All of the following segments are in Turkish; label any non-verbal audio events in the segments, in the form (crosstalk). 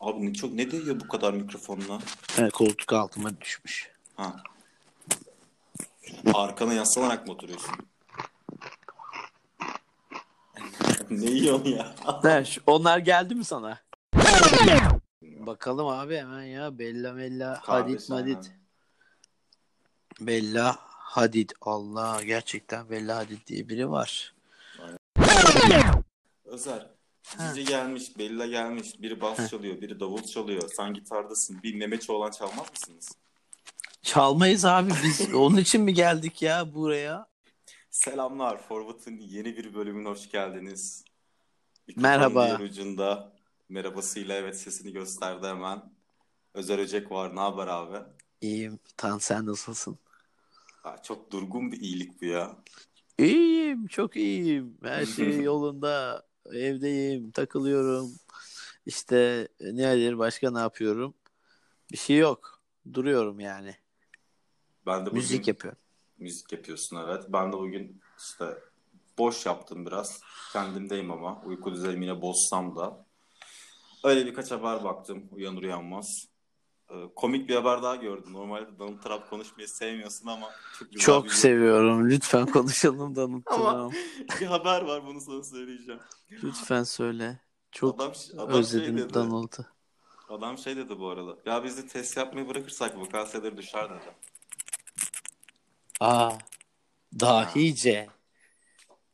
Abi ne çok ne değiyor bu kadar mikrofonla? He, koltuk altıma düşmüş. Ha. Arkana yaslanarak mı oturuyorsun? (laughs) ne yiyorsun ya? onlar geldi mi sana? (laughs) Bakalım abi hemen ya. Bella Mella Hadid Kahvesi Madid. hemen. Bella Hadid. Allah gerçekten Bella Hadid diye biri var. Özer. Ha. Cici gelmiş, Bella gelmiş. Biri bas çalıyor, biri davul çalıyor. Sen gitardasın. Bir Mehmet olan çalmaz mısınız? Çalmayız abi (laughs) biz. Onun için mi geldik ya buraya? Selamlar. Forvat'ın yeni bir bölümüne hoş geldiniz. Merhaba. Mikrofonun Diğer ucunda merhabasıyla evet sesini gösterdi hemen. Özer Öcek var. Ne haber abi? İyiyim. Tan sen nasılsın? Aa, çok durgun bir iyilik bu ya. İyiyim. Çok iyiyim. (laughs) Her şey yolunda. Evdeyim. Takılıyorum. İşte neler başka ne yapıyorum? Bir şey yok. Duruyorum yani. Ben de bugün Müzik yapıyorum. müzik yapıyorsun evet. Ben de bugün işte boş yaptım biraz. Kendimdeyim ama uyku düzenimi yine bozsam da. Öyle birkaç haber baktım uyanır uyanmaz. Ee, komik bir haber daha gördüm. Normalde Donald Trump konuşmayı sevmiyorsun ama çok güzel Çok bir, seviyorum. Lütfen konuşalım da unuturum. Ama- (laughs) bir haber var bunu sana söyleyeceğim. Lütfen söyle. Çok adam, adam şey özledim dedi. Donald'ı. Adam şey dedi bu arada. Ya biz de test yapmayı bırakırsak vaka sayıları düşer dedi. Aa, dahice.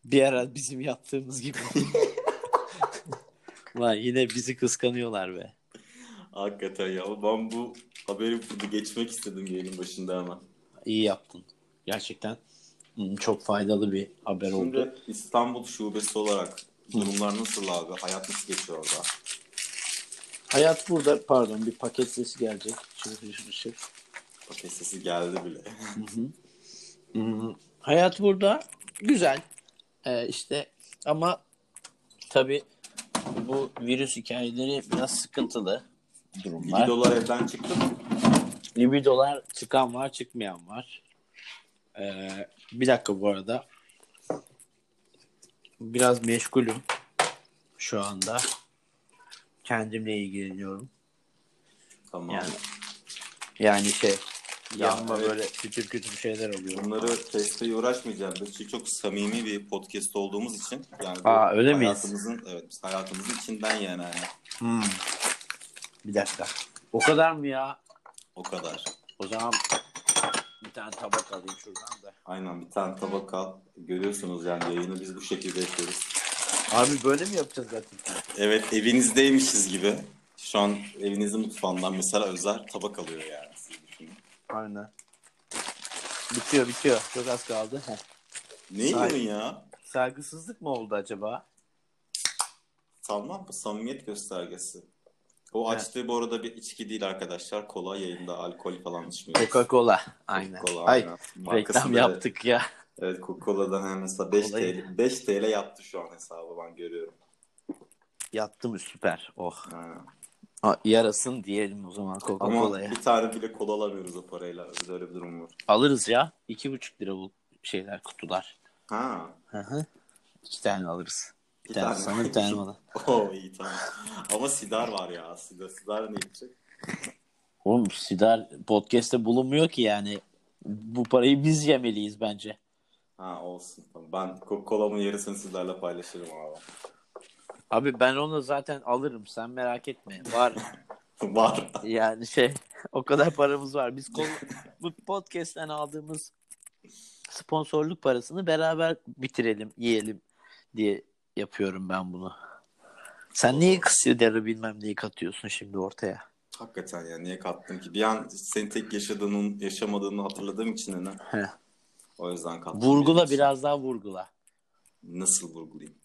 Bir ara bizim yaptığımız (laughs) gibi. Lan yine bizi kıskanıyorlar be. Hakikaten ya. Ben bu haberi burada geçmek istedim yayının başında ama. İyi yaptın. Gerçekten hmm, çok faydalı bir haber oldu. Şimdi İstanbul şubesi olarak durumlar nasıl abi? Hayat nasıl geçiyor orada? Hayat burada. Pardon bir paket sesi gelecek. Şırf şırf şırf. Okey sesi geldi bile. Hmm, Hayat burada güzel Ee, işte ama tabi bu virüs hikayeleri biraz sıkıntılı 2 durumlar. dolar evden çıktı mı? Libidolar çıkan var çıkmayan var. Ee, bir dakika bu arada. Biraz meşgulüm şu anda. Kendimle ilgileniyorum. Tamam. Yani. Yani şey Ya, yanma evet. böyle kütür kütür şeyler oluyor. Bunları teste uğraşmayacağız. Biz çünkü çok samimi bir podcast olduğumuz için. Yani bu Aa, öyle miyiz? hayatımızın, Evet biz hayatımızın içinden yani. hani, yani. Hmm. Bir dakika. O kadar mı ya? O kadar. O zaman bir tane tabak alayım şuradan da. Aynen bir tane tabak al. Görüyorsunuz yani yayını biz bu şekilde yapıyoruz. Abi böyle mi yapacağız zaten? Evet evinizdeymişiz gibi. Şu an evinizin mutfağından mesela özel tabak alıyor yani. Siz düşünün. Aynen. Bitiyor bitiyor. Çok az kaldı. Heh. Ne yiyorsun ya? Saygısızlık mı oldu acaba? Tamam bu samimiyet göstergesi. O Evet. açtığı bu arada bir içki değil arkadaşlar. Kola yayında alkol falan içmiyoruz. Coca-Cola. Aynen. Coca-Cola, Ay aynen. Markası reklam da- yaptık ya. Evet Coca-Cola'dan hem mesela 5 Olayı. TL, 5 TL yaptı şu an hesabı ben görüyorum. Yattım süper. Oh. Ha. Ha, yarasın diyelim o zaman Ama Coca-Cola'ya. bir tane bile kola alamıyoruz o parayla. Böyle bir durum var. Alırız ya. İki buçuk lira bu şeyler kutular. Ha. (laughs) Hı hı. İki tane alırız. Bir, Bir tane, tane. sana bir tane (laughs) bana. Oo iyi tamam. Ama sidar var ya. Sidar, sidar ne içecek? Oğlum Sidar podcast'te bulunmuyor ki yani. Bu parayı biz yemeliyiz bence. Ha olsun. Tamam. Ben Coca-Cola'mın yarısını sizlerle paylaşırım abi. (laughs) Abi ben onu zaten alırım sen merak etme. (laughs) Var var. yani şey o kadar paramız var. Biz kol- bu podcast'ten aldığımız sponsorluk parasını beraber bitirelim, yiyelim diye yapıyorum ben bunu. Sen niye kısıdarı bilmem neyi katıyorsun şimdi ortaya? Hakikaten ya niye kattım ki? Bir an senin tek yaşadığının yaşamadığını hatırladığım için hani. Heh. O yüzden kattım. Vurgula Benim için. biraz daha vurgula. Nasıl vurgulayayım?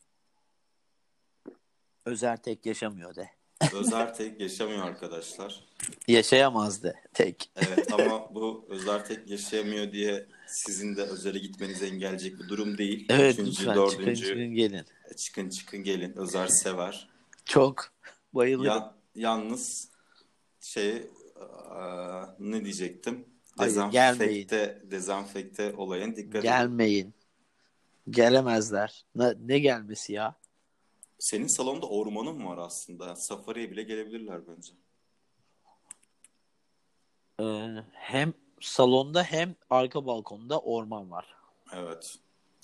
Özer tek yaşamıyor de. Özer tek yaşamıyor arkadaşlar. Yaşayamaz de tek. Evet ama bu Özer tek yaşayamıyor diye sizin de Özer'e gitmenizi engelleyecek bir durum değil. Evet Üçüncü, lütfen çıkın, dördüncü çıkın gelin. çıkın çıkın gelin. Özer sever. Çok bayılırım. Ya, yalnız şey eee, ne diyecektim? Hayır, gelmeyin. Dezenfekte, dezenfekte olayın dikkat edin. Gelmeyin. Gelemezler. Ne, ne gelmesi ya? Senin salonda ormanın mı var aslında? Safari'ye bile gelebilirler bence. Ee, hem salonda hem arka balkonda orman var. Evet.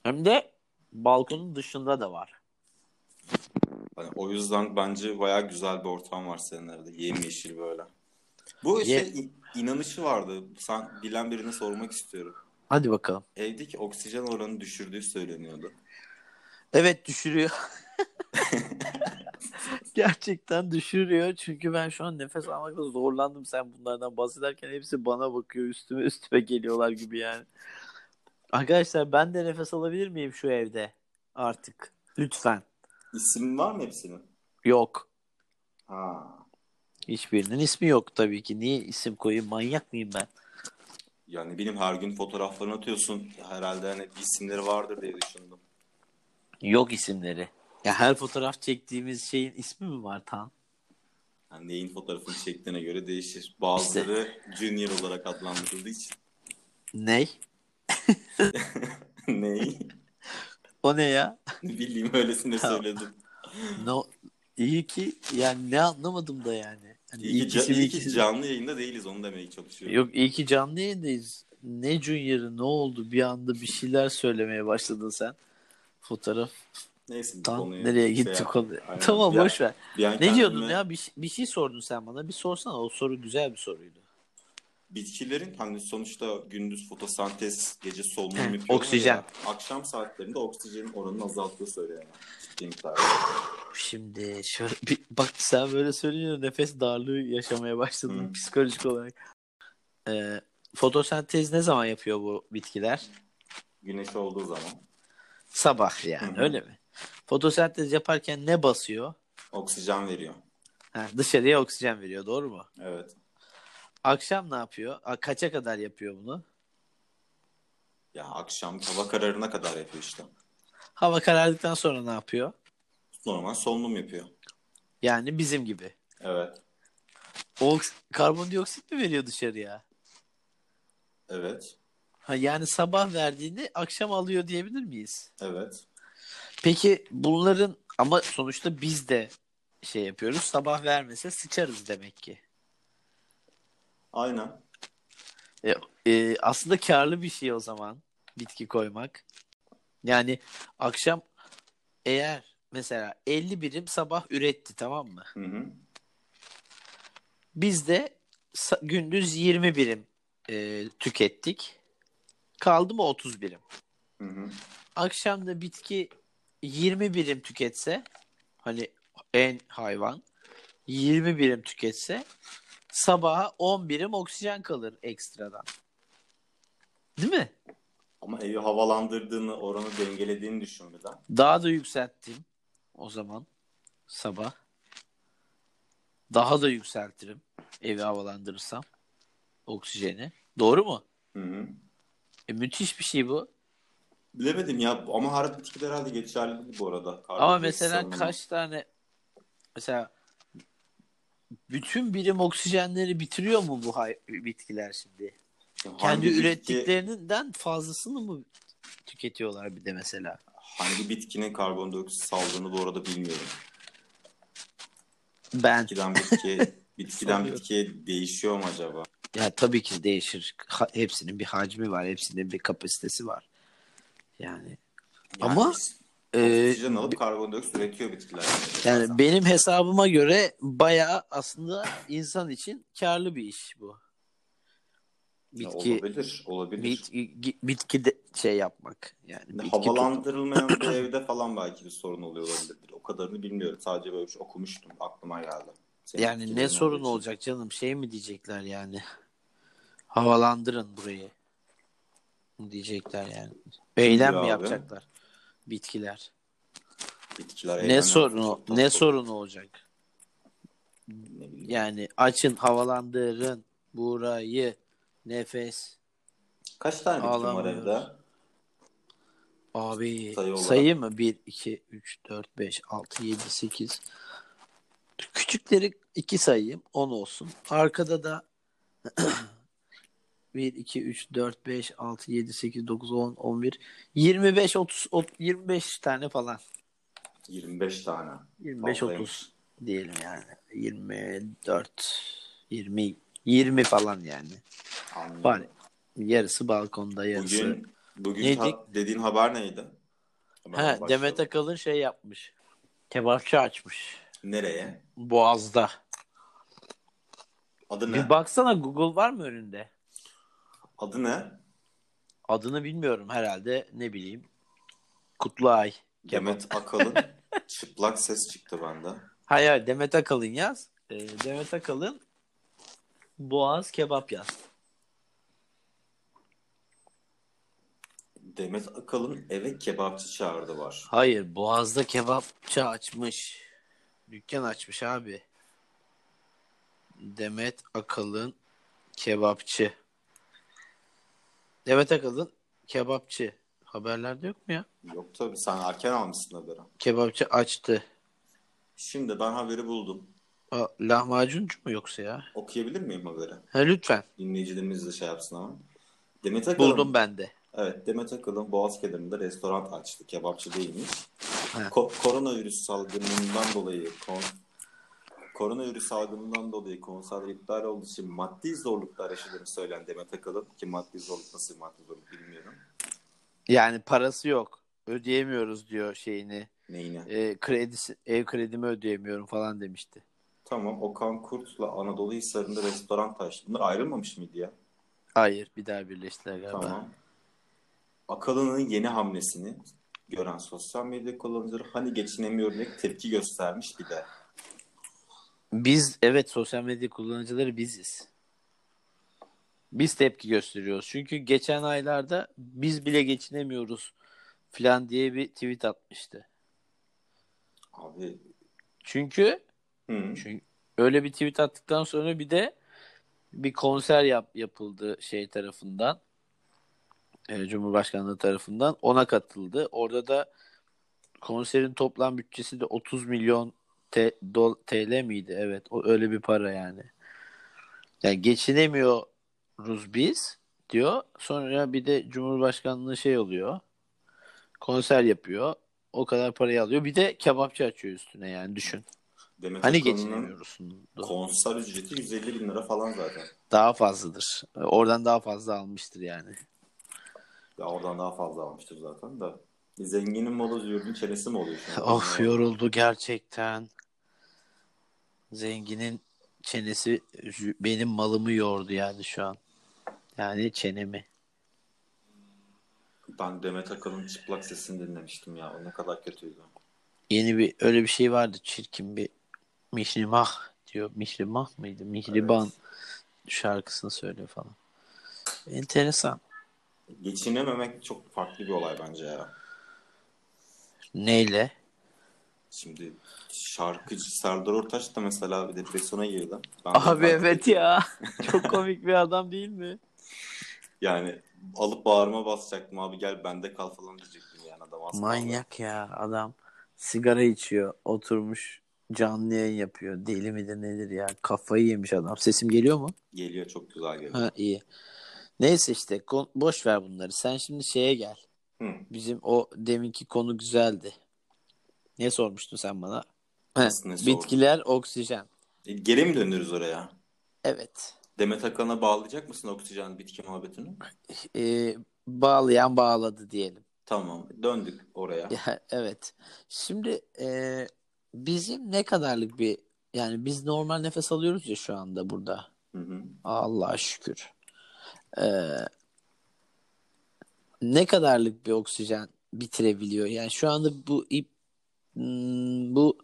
Hem de balkonun dışında da var. Hani o yüzden bence bayağı güzel bir ortam var senin evde. Yemyeşil böyle. Bu işte Ye- in- inanışı vardı. Sen bilen birine sormak istiyorum. Hadi bakalım. Evdeki oksijen oranı düşürdüğü söyleniyordu. Evet (laughs) düşürüyor. Gerçekten düşürüyor. Çünkü ben şu an nefes almakta zorlandım. Sen bunlardan bahsederken hepsi bana bakıyor. Üstüme üstüme geliyorlar gibi yani. Arkadaşlar ben de nefes alabilir miyim şu evde? Artık. Lütfen. İsim var mı hepsinin? Yok. Ha. Hiçbirinin ismi yok tabii ki. Niye isim koyayım? Manyak mıyım ben? Yani benim her gün fotoğraflarını atıyorsun. Herhalde hani bir isimleri vardır diye düşündüm. Yok isimleri. Ya her fotoğraf çektiğimiz şeyin ismi mi var Tan? Yani neyin fotoğrafını çektiğine göre değişir. Bazıları junior olarak adlandırıldığı için. (laughs) Ney? Neyi? O ne ya? Ne bileyim öylesine Tamam. söyledim. No. İyi ki yani ne anlamadım da yani. Hani İyi, ki, ikisi- ca- iyi ki ikisi- canlı yayında değiliz onu demeye çalışıyorum. Yok iyi ki canlı yayındayız. Ne Junior'ı ne oldu bir anda bir şeyler söylemeye başladın sen. Fotoğraf Neyse bu tam konuyu nereye şey gitti yap- konu. Aynen. Tamam Bir- boş ver. bir an Ne kendime diyordun ya? Bir, bir şey sordun sen bana. Bir sorsana. O soru güzel bir soruydu. Bitkilerin hani sonuçta gündüz fotosentez, gece solunum Heh, yapıyorlar oksijen. ya. akşam saatlerinde oksijenin oranının azalttığı söyleniyor. Ciddi miktarda. Şimdi şöyle (laughs) bir, bak sen böyle söyleyince nefes darlığı yaşamaya başladım Hı. psikolojik olarak. Ee, fotosentez ne zaman yapıyor bu bitkiler? Güneş olduğu zaman Sabah yani Hı hı. öyle mi? Fotosentez yaparken ne basıyor? oksijen veriyor. Ha, dışarıya oksijen veriyor doğru mu? Evet. Akşam ne yapıyor? A, kaça kadar yapıyor bunu? Ya akşam hava kararına kadar yapıyor işte. Hava karardıktan sonra ne yapıyor? Normal solunum yapıyor. Yani bizim gibi. Evet. Oks karbondioksit mi veriyor dışarıya? Evet. Ha, yani sabah verdiğini akşam alıyor diyebilir miyiz? Evet. Peki bunların ama sonuçta biz de şey yapıyoruz. Sabah vermese sıçarız demek ki. Aynen. E, e, aslında karlı bir şey o zaman bitki koymak. Yani akşam eğer mesela 50 birim sabah üretti tamam mı? Hı hı. Biz de sa- gündüz 20 birim e, tükettik. Kaldı mı 30 birim? Hı hı. Akşam da bitki 20 birim tüketse hani en hayvan 20 birim tüketse sabaha 10 birim oksijen kalır ekstradan. Değil mi? Ama evi havalandırdığını, oranı dengelediğini düşün bir de. Daha da yükselttim o zaman sabah. Daha da yükseltirim evi havalandırırsam oksijeni. Doğru mu? Hı hı. E, müthiş bir şey bu. Bilemedim ya ama harap bitkiler herhalde geçerli değil bu arada. Ama Karbonhidrat mesela salınımı. kaç tane mesela bütün birim oksijenleri bitiriyor mu bu hay- bitkiler şimdi? Hangi Kendi bitki- ürettiklerinden fazlasını mı tüketiyorlar bir de mesela? Hangi bitkinin karbondioksit saldığını bu arada bilmiyorum. Ben Bitkiden (laughs) bitkiye, bitkiden Sanıyorum. bitkiye değişiyor mu acaba? ya tabii ki değişir. Ha- hepsinin bir hacmi var, hepsinin bir kapasitesi var. Yani Ama, e, oksijen alıp karbondioksit üretiyor bitkiler. yani benim hesabıma göre bayağı aslında insan için karlı bir iş bu. Ya Bitki olabilir, olabilir. bitki, bitki de şey yapmak yani Ne, bitki Havalandırılmayan (clears throat) bir evde falan belki bir sorun oluyor olabilir. O kadarını bilmiyorum. Sadece böyle bir şey okumuştum. Aklıma geldi. Senin Yani fikirlerin ne sorun olduğu için. olacak canım? Şey mi diyecekler yani? Havalandırın burayı. Diyecekler yani. Eylem mi abi. yapacaklar? Bitkiler. Bitkiler ne eğlenmeden sorunu? çok tatlı Ne olur. sorunu olacak? Ne bileyim. Yani açın, havalandırın burayı. Nefes. Kaç tane bitki var Ağlamıyoruz. evde? Abi Sayı sayı, olarak. mı? 1 2 3 4 5 6 7 8. (clears throat) Küçükleri 2 sayayım. 10 olsun. Arkada da 1, 2, 3, 4, 5, 6, 7, 8, 9, 10, 11, 25, 30, 25 tane falan. 25 tane. 25, Fazlaymış. 30 diyelim yani. 24, 20, 20 falan yani. Anladım. Var. Yarısı balkonda, yarısı. Bugün, bugün Neydi? ta- dediğin haber neydi? Hemen Ha, başlayalım. Demet Akalın şey yapmış. Kebapçı açmış. Nereye? Boğaz'da. Adı ne? Bir baksana Google var mı önünde? Adı ne? Adını bilmiyorum herhalde ne bileyim. Kutluay. Demet (laughs) Akalın. Çıplak ses çıktı bende. Hayır hayır, Demet Akalın yaz. Ee, Demet Akalın Boğaz kebap yaz. Demet Akalın eve kebapçı çağırdı var. Hayır Boğaz'da kebapçı açmış. Dükkan açmış abi. Demet Akalın kebapçı. Demet Akalın kebapçı. Haberlerde yok mu ya? Yok tabii sen erken almışsın haberi. Kebapçı açtı. Şimdi ben haberi buldum. Aa, lahmacuncu mu yoksa ya? Okuyabilir miyim haberi? Ha, lütfen. Dinleyicilerimiz de şey yapsın ama. Demet Akalın. Buldum ben de. Evet Demet Akalın Boğaz kenarında restoran açtı. Kebapçı değilmiş. Evet. Ko- koronavirüs salgınından dolayı kon koronavirüs salgınından dolayı konser iptal olduğu için maddi zorluklar yaşadığını söyleyen Demet Akalın ki maddi zorluk nasıl maddi zorluk bilmiyorum. Yani parası yok. Ödeyemiyoruz diyor şeyini. Neyine? E, kredisi, ev kredimi ödeyemiyorum falan demişti. Tamam Okan Kurt'la Anadolu Hisarı'nda restoran taştı. Bunlar ayrılmamış mıydı ya? Hayır bir daha birleştiler galiba. Tamam. Akalın'ın yeni hamlesini gören sosyal medya kullanıcıları hani geçinemiyor diye tepki göstermiş bir de. Biz evet sosyal medya kullanıcıları biziz. Biz tepki gösteriyoruz. Çünkü geçen aylarda biz bile geçinemiyoruz falan diye bir tweet atmıştı. Abi Çünkü, hı. çünkü öyle bir tweet attıktan sonra bir de bir konser yap, yapıldı şey tarafından. e, Cumhurbaşkanlığı tarafından ona katıldı. Orada da konserin toplam bütçesi de 30 milyon T- dol- TL miydi? Evet. O öyle bir para yani. Yani geçinemiyoruz biz diyor. Sonra bir de Cumhurbaşkanlığı şey oluyor. Konser yapıyor. O kadar parayı alıyor. Bir de kebapçı açıyor üstüne yani düşün. Demet Hani Akalın'ın geçinemiyoruz. konser ücreti 150 bin lira falan zaten. Daha fazladır. Oradan daha fazla almıştır yani. Ya oradan daha fazla almıştır zaten de. Zenginin malı zürdün çenesi mi oluyor şimdi? (laughs) Of yoruldu gerçekten. Zenginin çenesi zü- benim malımı yordu yani şu an. Yani çenemi. Ben Demet Akalın çıplak sesini dinlemiştim ya. O ne kadar kötüydü. Yeni bir öyle bir şey vardı çirkin bir Mihrimah diyor. Mihrimah mıydı? Mihriban Evet. şarkısını söylüyor falan. Enteresan. Geçinememek çok farklı bir olay bence ya. Neyle? Şimdi şarkıcı Serdar Ortaç da mesela bir depresyona girdi. Ben de Abi fark evet ettim. ya. (laughs) Çok komik bir adam değil mi? Yani alıp bağrıma basacaktım abi gel bende kal falan diyecektim yani adam aslında. Manyak ya adam. Sigara içiyor. Oturmuş canlı yayın yapıyor. Deli midir nedir ya. Kafayı yemiş adam. Sesim geliyor mu? Geliyor çok güzel geliyor. Ha iyi. Neyse işte kon- boş ver bunları. Sen şimdi şeye gel. Hı. Bizim o deminki konu güzeldi. Ne sormuştun sen bana? Ha, Nasıl, ne sordum? bitkiler oksijen. E, geri mi dönüyoruz oraya? Evet. Demet Akalın'a bağlayacak mısın oksijen bitki muhabbetini? Ee, bağlayan bağladı diyelim. Tamam döndük oraya. Ya, evet. Şimdi e, bizim ne kadarlık bir yani biz normal nefes alıyoruz ya şu anda burada. Hı hı. Allah'a şükür. E, ne kadarlık bir oksijen bitirebiliyor? Yani şu anda bu ip hmm, bu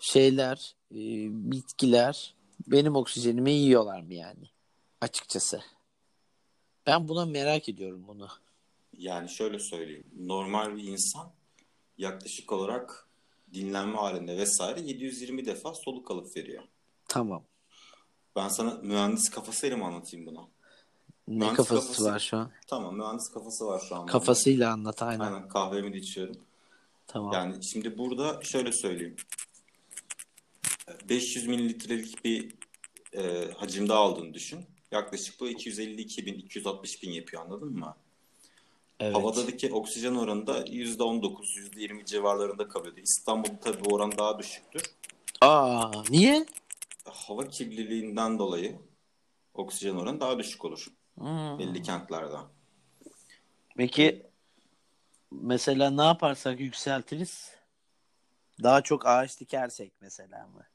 şeyler, e, bitkiler benim oksijenimi yiyorlar mı yani? Açıkçası. Ben buna merak ediyorum bunu. Yani şöyle söyleyeyim. Normal bir insan yaklaşık olarak dinlenme halinde vesaire 720 defa soluk alıp veriyor. Tamam. Ben sana mühendis kafasıyla mı anlatayım bunu? Ne Ben kafası kafası- var şu an? Tamam mühendis kafası var şu an. bende. Kafasıyla anlat aynen. Aynen kahvemi de içiyorum. Tamam. Yani şimdi burada şöyle söyleyeyim. 500 mililitrelik bir e, hacimde aldığını düşün. Yaklaşık bu 252 bin, 260 bin yapıyor anladın mı? Evet. Havadaki oksijen oranı da %19, %20 civarlarında kalıyordu. İstanbul'da tabii bu oran daha düşüktür. Aa niye? Hava kirliliğinden dolayı oksijen oranı daha düşük olur Hmm. belli kentlerde. Peki mesela ne yaparsak yükseltiriz? Daha çok ağaç dikersek mesela mı?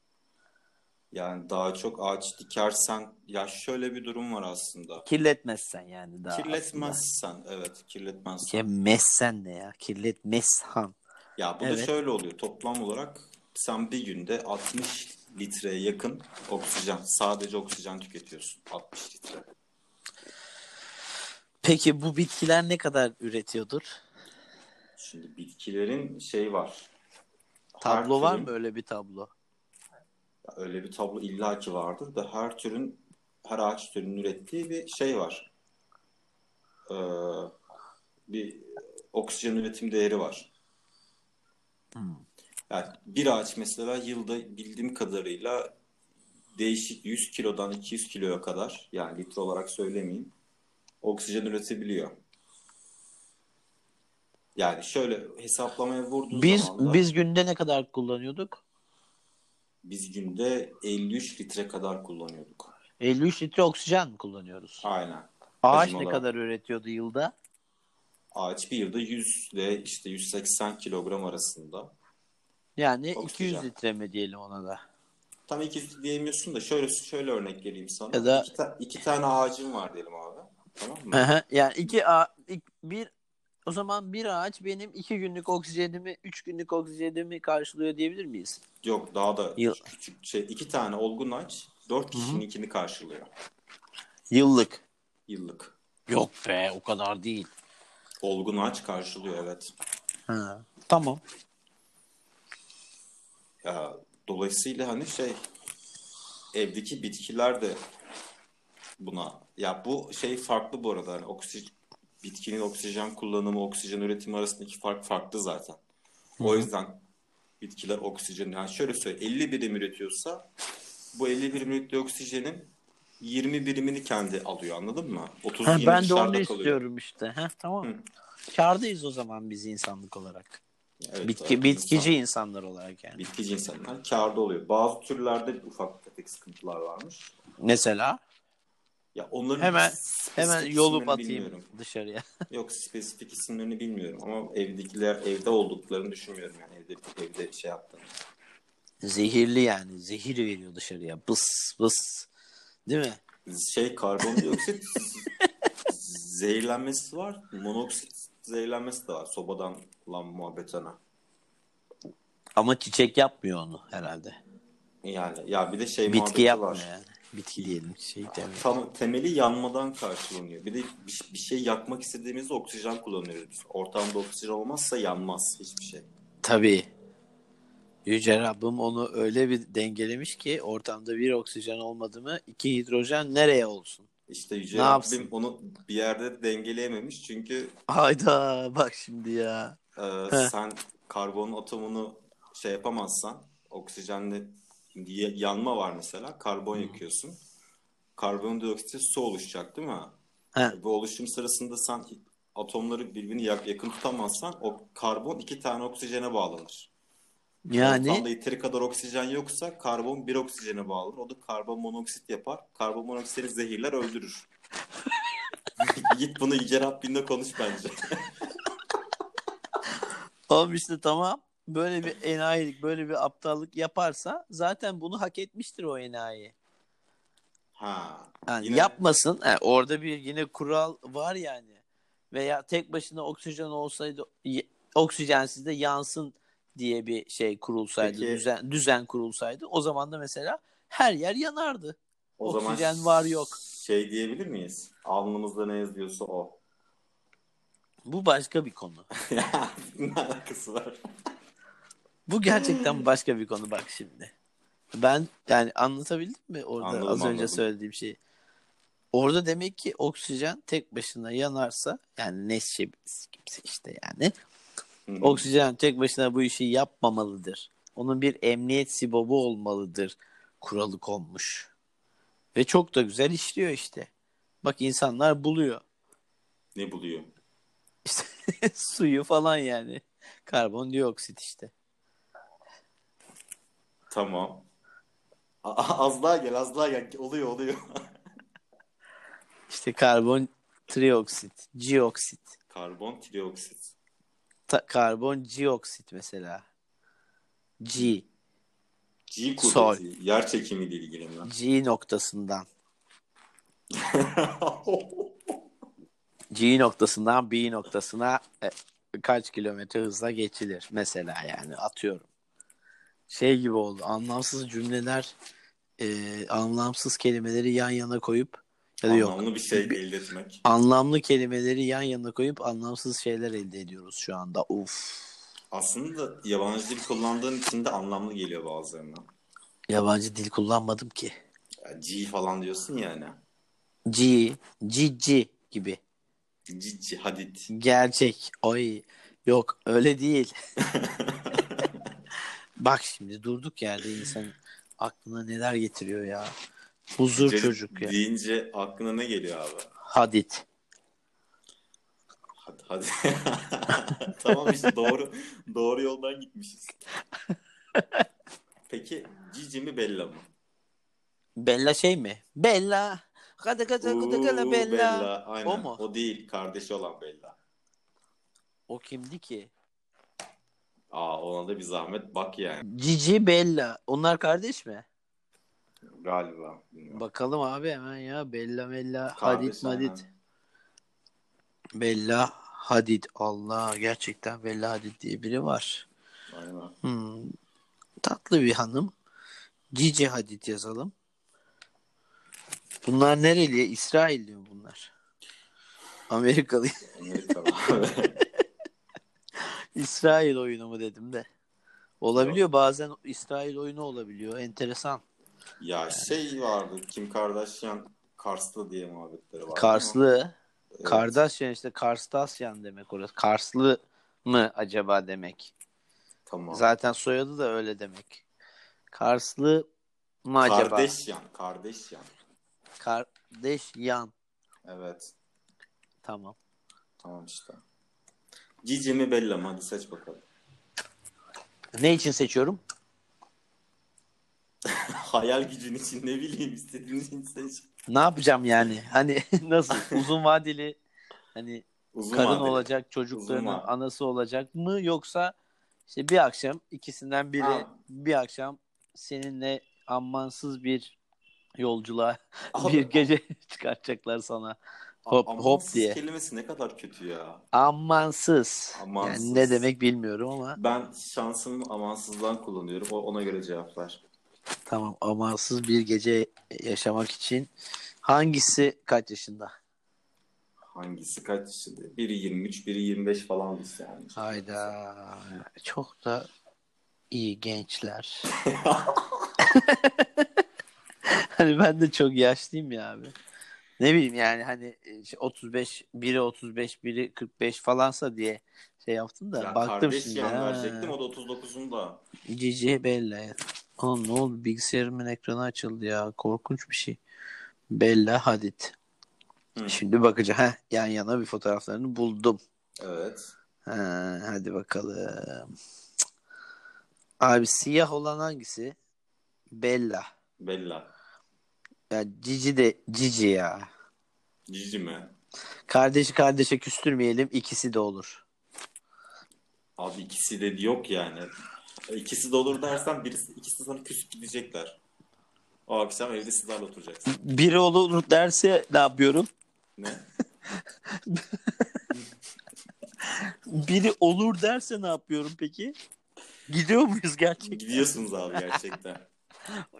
Yani daha çok ağaç dikersen ya şöyle bir durum var aslında. Kirletmezsen yani daha. kirletmezsen evet kirletmezsen. aslında. Ya messen ne ya? Kirletmezsen. Ya bu da Evet. şöyle oluyor toplam olarak sen bir günde 60 litreye yakın oksijen sadece oksijen tüketiyorsun 60 litre. Peki bu bitkiler ne kadar üretiyordur? Şimdi bitkilerin şey var. Tablo Her var türün- mı öyle bir tablo? Öyle bir tablo illaki vardır da her türün her ağaç türünün ürettiği bir şey var. Ee, bir oksijen üretim değeri var. Hmm. Yani bir ağaç mesela yılda bildiğim kadarıyla değişik 100 kilodan 200 kiloya kadar yani litre olarak söylemeyeyim oksijen üretebiliyor. Yani şöyle hesaplamaya vurduğun Biz zaman da biz günde ne kadar kullanıyorduk? biz günde 53 litre kadar kullanıyorduk. 53 litre oksijen mi kullanıyoruz? Aynen. Ağaç hacim ne olarak. kadar üretiyordu yılda? Ağaç bir yılda 100 ile işte 180 kilogram arasında. Yani Oksijen. 200 litre mi diyelim ona da? Tam 200 diyemiyorsun da şöyle şöyle örnek vereyim sana. Ya da- İki, ta- iki tane ağacın var diyelim abi. Tamam mı? Aha, yani iki ağa- ik- bir o zaman bir ağaç benim iki günlük oksijenimi, üç günlük oksijenimi karşılıyor diyebilir miyiz? Yok daha da Yıl- küçük şey iki tane olgun ağaç dört kişinin ikini karşılıyor Yıllık. yıllık. Yok be, o kadar değil. Olgun ağaç karşılıyor evet. Ha, tamam. Ya, dolayısıyla hani şey evdeki bitkiler de buna ya bu şey farklı bu arada hani oksijen bitkinin oksijen kullanımı oksijen üretimi arasındaki fark farklı zaten. O yüzden bitkiler oksijen yani şöyle söyleyeyim 50 birim üretiyorsa bu 50 birim ürettiği oksijenin 20 birimini kendi alıyor anladın mı? 30 Ha, yine ben de dışarıda onu kalıyor. istiyorum işte. Ha, tamam. Hı. Kârdayız o zaman biz insanlık olarak. Evet, Bitki, evet, bitkici insanlar olarak yani. insan- bitkici insanlar kârda oluyor. Bazı türlerde ufak tefek sıkıntılar varmış. Mesela Ya onların Hemen- spesifik hemen isimlerini yolup atayım bilmiyorum. dışarıya. (laughs) Yok spesifik isimlerini bilmiyorum ama evdekiler evde olduklarını düşünmüyorum yani evde evde şey yaptığını. Zehirli yani. Zehir veriyor dışarıya. Bıs bıs. Değil mi? Şey (laughs) karbondioksit zehirlenmesi var. Monoksit zehirlenmesi de var. Sobadan lan muhabbetine. Ama çiçek yapmıyor onu herhalde. Yani ya bir de şey Bitki muhabbeti yapmıyor var. yani. Bitki diyelim. Şey demiyor. Tam temeli yanmadan karşılanıyor. Bir de bir, bir şey yakmak istediğimizde oksijen kullanıyoruz. biz. Ortamda oksijen olmazsa yanmaz hiçbir şey. Tabii. Yüce Rabbim onu öyle bir dengelemiş ki ortamda bir oksijen olmadı mı iki hidrojen nereye olsun? İşte Yüce Ne yapsın? Rabbim onu bir yerde dengeleyememiş çünkü Hayda bak şimdi ya. Ee, sen karbon atomunu şey yapamazsan oksijenle y- yanma var mesela karbon yakıyorsun. Karbondioksitte su oluşacak değil mi? E, He. Bu oluşum sırasında sen atomları birbirine yak- yakın tutamazsan o karbon iki tane oksijene bağlanır. Ortamda Yani yeteri kadar oksijen yoksa karbon bir oksijene bağlanır. O da karbon monoksit yapar. Karbon monoksiti zehirler (laughs) öldürür. Git bunu Yüce Rabbin'le konuş bence. oğlum işte tamam böyle bir enayilik böyle bir aptallık yaparsa zaten bunu hak etmiştir o enayi. Ha. Yani Yine- yapmasın. He, orada bir yine kural var yani. Veya tek başına oksijen olsaydı y- oksijensiz de yansın diye bir şey kurulsaydı, Peki. düzen düzen kurulsaydı o zaman da mesela her yer yanardı. O Oksijen zaman var yok. Şey diyebilir miyiz? Alnımızda ne yazıyorsa o. (laughs) Bu başka bir konu. ne alakası var? (laughs) Bu gerçekten başka bir konu bak şimdi. Ben yani anlatabildim mi orada Anladım, az önce anladım. söylediğim şeyi? Orada demek ki oksijen tek başına yanarsa yani ne şey kimse işte yani Hı. Oksijen tek başına bu işi yapmamalıdır. Onun bir emniyet sibobu olmalıdır. Kuralı konmuş. Ve çok da güzel işliyor işte. Bak insanlar buluyor. (laughs) Ne buluyor? İşte suyu falan yani. Karbondioksit işte. Tamam. A- a- az daha gel az daha gel. Oluyor oluyor. İşte karbon trioksit, cioksit, Karbon trioksit. ta- karbon cioksit mesela. G, G kuvveti. Sol. Yer çekimiyle ilgili (laughs) mi? G noktasından. G noktasından B noktasına e, kaç kilometre hızla geçilir mesela yani atıyorum. Şey gibi oldu anlamsız cümleler e, anlamsız kelimeleri yan yana koyup ya da yok Anlamlı bir şey elde etmek. anlamlı kelimeleri yan yana koyup anlamsız şeyler elde ediyoruz şu anda. Uf. Aslında yabancı dil kullandığın için de anlamlı geliyor bazılarına. Yabancı dil kullanmadım ki. Ya G falan diyorsun hani. yani. G, cici gibi. Cici hadit. Gerçek. Oy. Yok öyle değil. Bak şimdi durduk yerde insan aklına neler getiriyor ya. Huzur Cici çocuk ya. Deyince aklına ne geliyor abi? Hadit. Hadi hadi. (laughs) tamam işte doğru doğru yoldan gitmişiz. Peki Cici mi Bella mı? Bella şey mi? Bella. Kada kada kada kada Oo, Bella. Aynen. O O, mu? değil. Kardeşi olan Bella. O kimdi ki? Aa ona da bir zahmet bak yani. Cici Bella. Onlar kardeş mi? Galiba. Bilmiyorum. Bakalım abi hemen ya. Bella Bella. Kardeş, Hadit Madit. aynen. Bella Hadid. Allah gerçekten Bella Hadid diye biri var. Aynen. Hmm, tatlı bir hanım. Cici Hadid yazalım. Bunlar nereli? İsrailli mi bunlar? Amerikalı. (laughs) Amerikalı abi. İsrail oyunu mu dedim de. Olabiliyor bazen İsrail oyunu olabiliyor. Enteresan. (laughs) ya şey vardı. Kim Kardashian Karslı diye muhabbetleri vardı. Karslı. ama- Evet. Kardasyan işte Karstasyan demek orası. Karslı mı acaba demek? Tamam. Zaten soyadı da öyle demek. Karslı mı acaba? Kardashian. Kardashian. Kardeşyan. Evet. Tamam. Tamam işte. Cici mi Bella mı? Hadi seç bakalım. Ne için seçiyorum? Hayal gücün için ne bileyim istediğin için seç. Ne yapacağım yani? Hani (laughs) (laughs) nasıl uzun vadeli hani Uzun karın vadeli. olacak, çocuklarının Uzun vadeli. anası olacak mı yoksa işte bir akşam ikisinden biri Ha. bir akşam seninle ammansız bir yolculuğa Abi, (laughs) bir gece çıkartacaklar sana. Hop amansız hop diye. kelimesi ne kadar kötü ya. Ammansız. Amansız. Yani ne demek bilmiyorum ama Ben şansımı amansızdan kullanıyorum. O ona göre cevap ver. tamam amansız bir gece yaşamak için hangisi kaç yaşında? Hangisi kaç yaşında? Biri 23, biri 25 falan biz yani. Hayda. Çok da iyi gençler. hani ben de çok yaşlıyım ya abi. Ne bileyim yani hani işte 35 biri 35 biri 45 falansa diye şey yaptım da Ya baktım kardeş şimdi. yan ha. verecektim. O da 39'unda. Cici Bella. ya. Oğlum ne oldu bilgisayarımın ekranı açıldı ya. Korkunç bir şey. Bella Hadid. Hı. Şimdi bakacağım. Heh, yan yana bir fotoğraflarını buldum. Evet. Ha, hadi bakalım. Cık. Abi siyah olan hangisi? Bella. Bella. Ya Cici de Cici ya. Cici mi? Kardeşi kardeşe küstürmeyelim ikisi de olur. Abi ikisi de yok yani. İkisi de olur dersen birisi, ikisi de sana küsüp gidecekler. O akşam evde sizlerle (laughs) oturacaksın. Biri olur derse ne yapıyorum? Ne? Biri olur derse ne yapıyorum peki? Gidiyor muyuz gerçekten? Gidiyorsunuz abi gerçekten.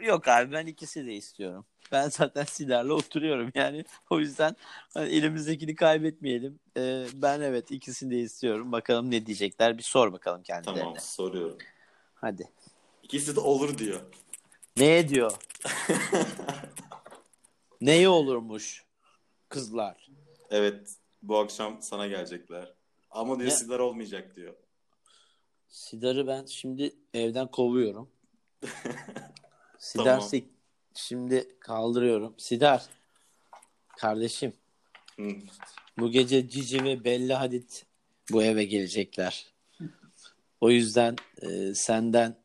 Yok abi ben ikisi de istiyorum. Ben (laughs) zaten Sider'le oturuyorum yani. O yüzden hani elimizdekini kaybetmeyelim. Ee, ben evet ikisini de istiyorum. Bakalım ne diyecekler. Bir sor bakalım kendilerine. tamam soruyorum. Hadi. İkisi de olur diyor. (laughs) Ne diyor? Neye olurmuş kızlar? Evet bu akşam sana gelecekler. Ama diyor Ya- sizler olmayacak diyor. (laughs) Sidar'ı ben şimdi evden kovuyorum. Sidar Tamam. sek- Şimdi kaldırıyorum. Sidar. Kardeşim. Hı. Bu gece Cici ve Bella Hadid bu eve gelecekler. O yüzden e, senden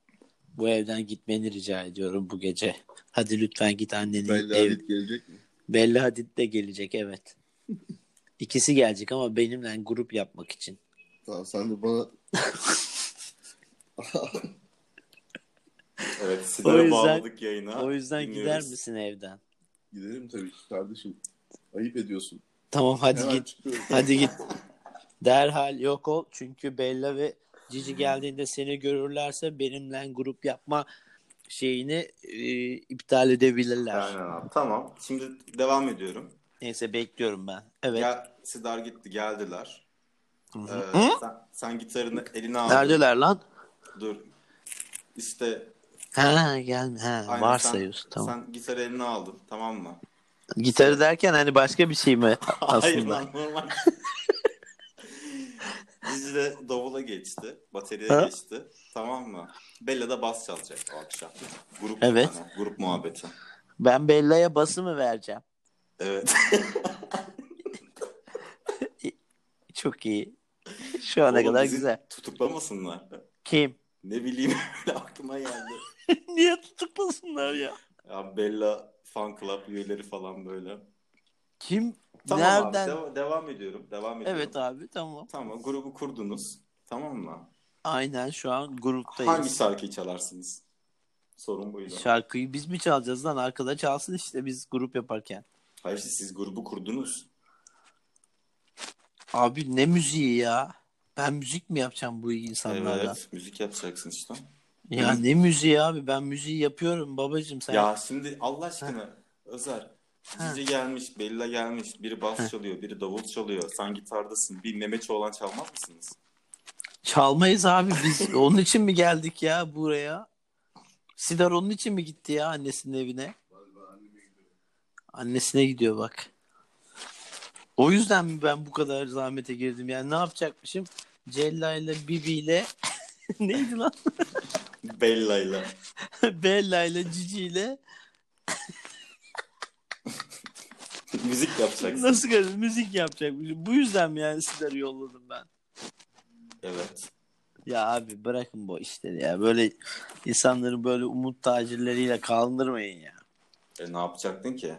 bu evden gitmeni rica ediyorum bu gece. Hadi lütfen git annenin Belli ev. Halit gelecek mi? Bella Hadid de gelecek evet. İkisi gelecek ama benimle grup yapmak için. Tamam sen de bana Evet (laughs) O Sidar'a yüzden- bağladık yayına. O yüzden gider Dinliyoruz. misin evden? gidelim tabii ki kardeşim. Ayıp ediyorsun. Tamam hadi Hemen git. çıkıyorum. Hadi git. Derhal yok ol. Çünkü Bella ve Cici geldiğinde seni görürlerse benimle grup yapma şeyini e, iptal edebilirler. Aynen abi. Tamam. Şimdi devam ediyorum. Neyse bekliyorum ben. Evet. Gel, Sidar gitti geldiler. Hı Ee, hı. sen, sen gitarını eline aldın. Neredeler lan? Dur. İşte Ha gelme. Ha aynen varsayıyorsun sen, tamam. sen gitarı eline aldın tamam mı? Gitarı derken hani başka bir şey mi (laughs) Hayır aslında? lan normal. (laughs) Dizi de davula geçti. Bataryaya Ha? geçti. Tamam mı? Bella da bas çalacak o akşam. Grup, Evet. hani, grup muhabbeti. ben Bella'ya bası mı vereceğim? Evet. (laughs) Çok iyi. Şu ana Oğlum kadar bizi güzel. Tutuklamasınlar. Kim? Ne bileyim (laughs) öyle aklıma geldi. Niye tutuklasınlar ya? Ya Bella fan club üyeleri falan böyle. Kim? Tamam Nereden? abi deva- devam ediyorum. Devam ediyorum. evet abi tamam. Tamam grubu kurdunuz. Tamam mı? Aynen şu an gruptayız. Hangi şarkıyı çalarsınız? Sorun buydu. Şarkıyı biz mi çalacağız lan? Arkada çalsın işte biz grup yaparken. Hayır siz grubu kurdunuz. Abi ne müziği ya? Ben müzik mi yapacağım bu insanlarla? Evet müzik yapacaksın işte. Ya ne müziği abi? Ben müziği yapıyorum babacığım sen. Ya şimdi Allah aşkına Özer. Cici gelmiş, Bella gelmiş. Biri bas çalıyor, biri davul çalıyor. Sen gitardasın. Bir Mehmet Çoğlan çalmaz mısınız? Çalmayız abi (laughs) biz. onun için mi geldik ya buraya? Sidar onun için mi gitti ya annesinin evine? Annesine gidiyor bak. O yüzden mi ben bu kadar zahmete girdim? Yani ne yapacakmışım? Cella ile Bibi ile (laughs) neydi lan? Bella'yla. Bella ile Cici ile (laughs) müzik yapacaksın. nasıl kadar müzik yapacakmışım? Bu yüzden mi yani Sidar'ı yolladım ben? Evet. Ya abi bırakın bu işleri ya. Böyle insanları böyle umut tacirleriyle kandırmayın ya. E, ne yapacaktın ki?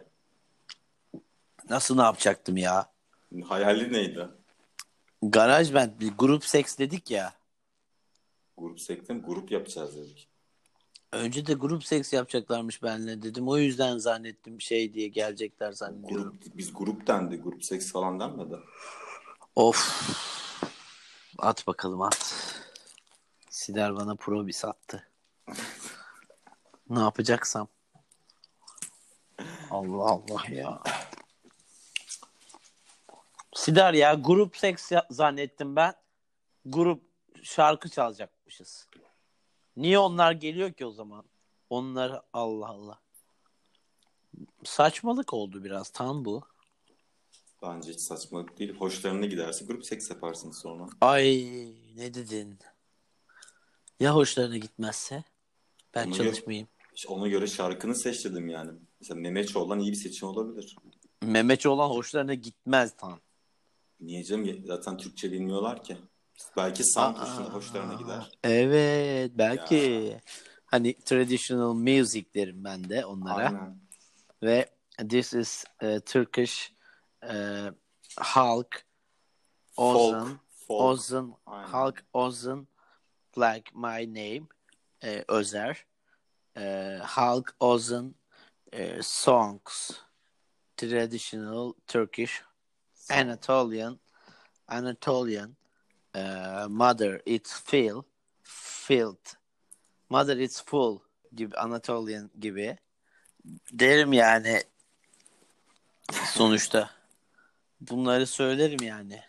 Nasıl ne yapacaktım ya? Hayali neydi? Garaj ben grup seks dedik ya. Grup sektim, grup yapacağız dedik. Önce de grup seks yapacaklarmış benle dedim. O yüzden zannettim şey diye gelecekler zannediyorum. Grup, biz grup dendi, grup seks falan denmedi. Of. At bakalım at. Sider bana probis attı. ne yapacaksam. Allah Allah ya. Sider ya grup seks ya- zannettim ben. Grup şarkı çalacakmışız. Niye onlar geliyor ki o zaman? Onlar Allah Allah. Saçmalık oldu biraz tam bu. Bence hiç saçmalık değil. Hoşlarına giderse grup seks yaparsınız sonra. Ay ne dedin? Ya hoşlarına gitmezse? Ben Ama çalışmayayım. İşte Ona göre şarkını seç dedim yani. Mesela Mehmet olan iyi bir seçim olabilir. Mehmetçi olan hoşlarına gitmez tam. Niye canım? Zaten Türkçe bilmiyorlar ki. Belki sound dışında hoşlarına gider. Evet belki. Hani traditional music derim ben de onlara. Aynen. Ve this is eh, Turkish eh, halk Folk. Ozan Folk. Ozan Aynen. halk Ozan like my name eh, Özer Eh, halk Ozan eh, songs traditional Turkish Anatolian Anatolian eh, mother it's filled filled mother it's full gibi Anatolian gibi derim yani sonuçta bunları söylerim yani.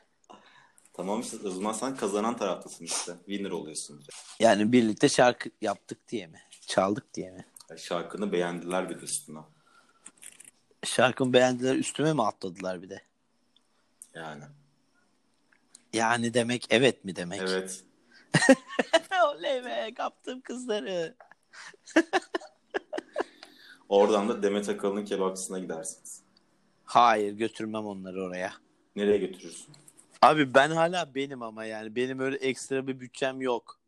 Tamam işte o zaman sen kazanan taraftasın işte. Winner oluyorsun. direkt. Yani birlikte şarkı yaptık diye mi? Çaldık diye mi? Yani E, şarkını beğendiler bir de üstüne. Şarkımı beğendiler üstüme mi atladılar bir de? Yani. Yani demek evet mi demek? (laughs) Evet. Oley be kaptım kızları. Oradan da Demet Akalın'ın kebapçısına gidersiniz. Hayır götürmem onları oraya. Nereye götürürsün? Abi ben hala benim ama yani benim öyle ekstra bir bütçem yok.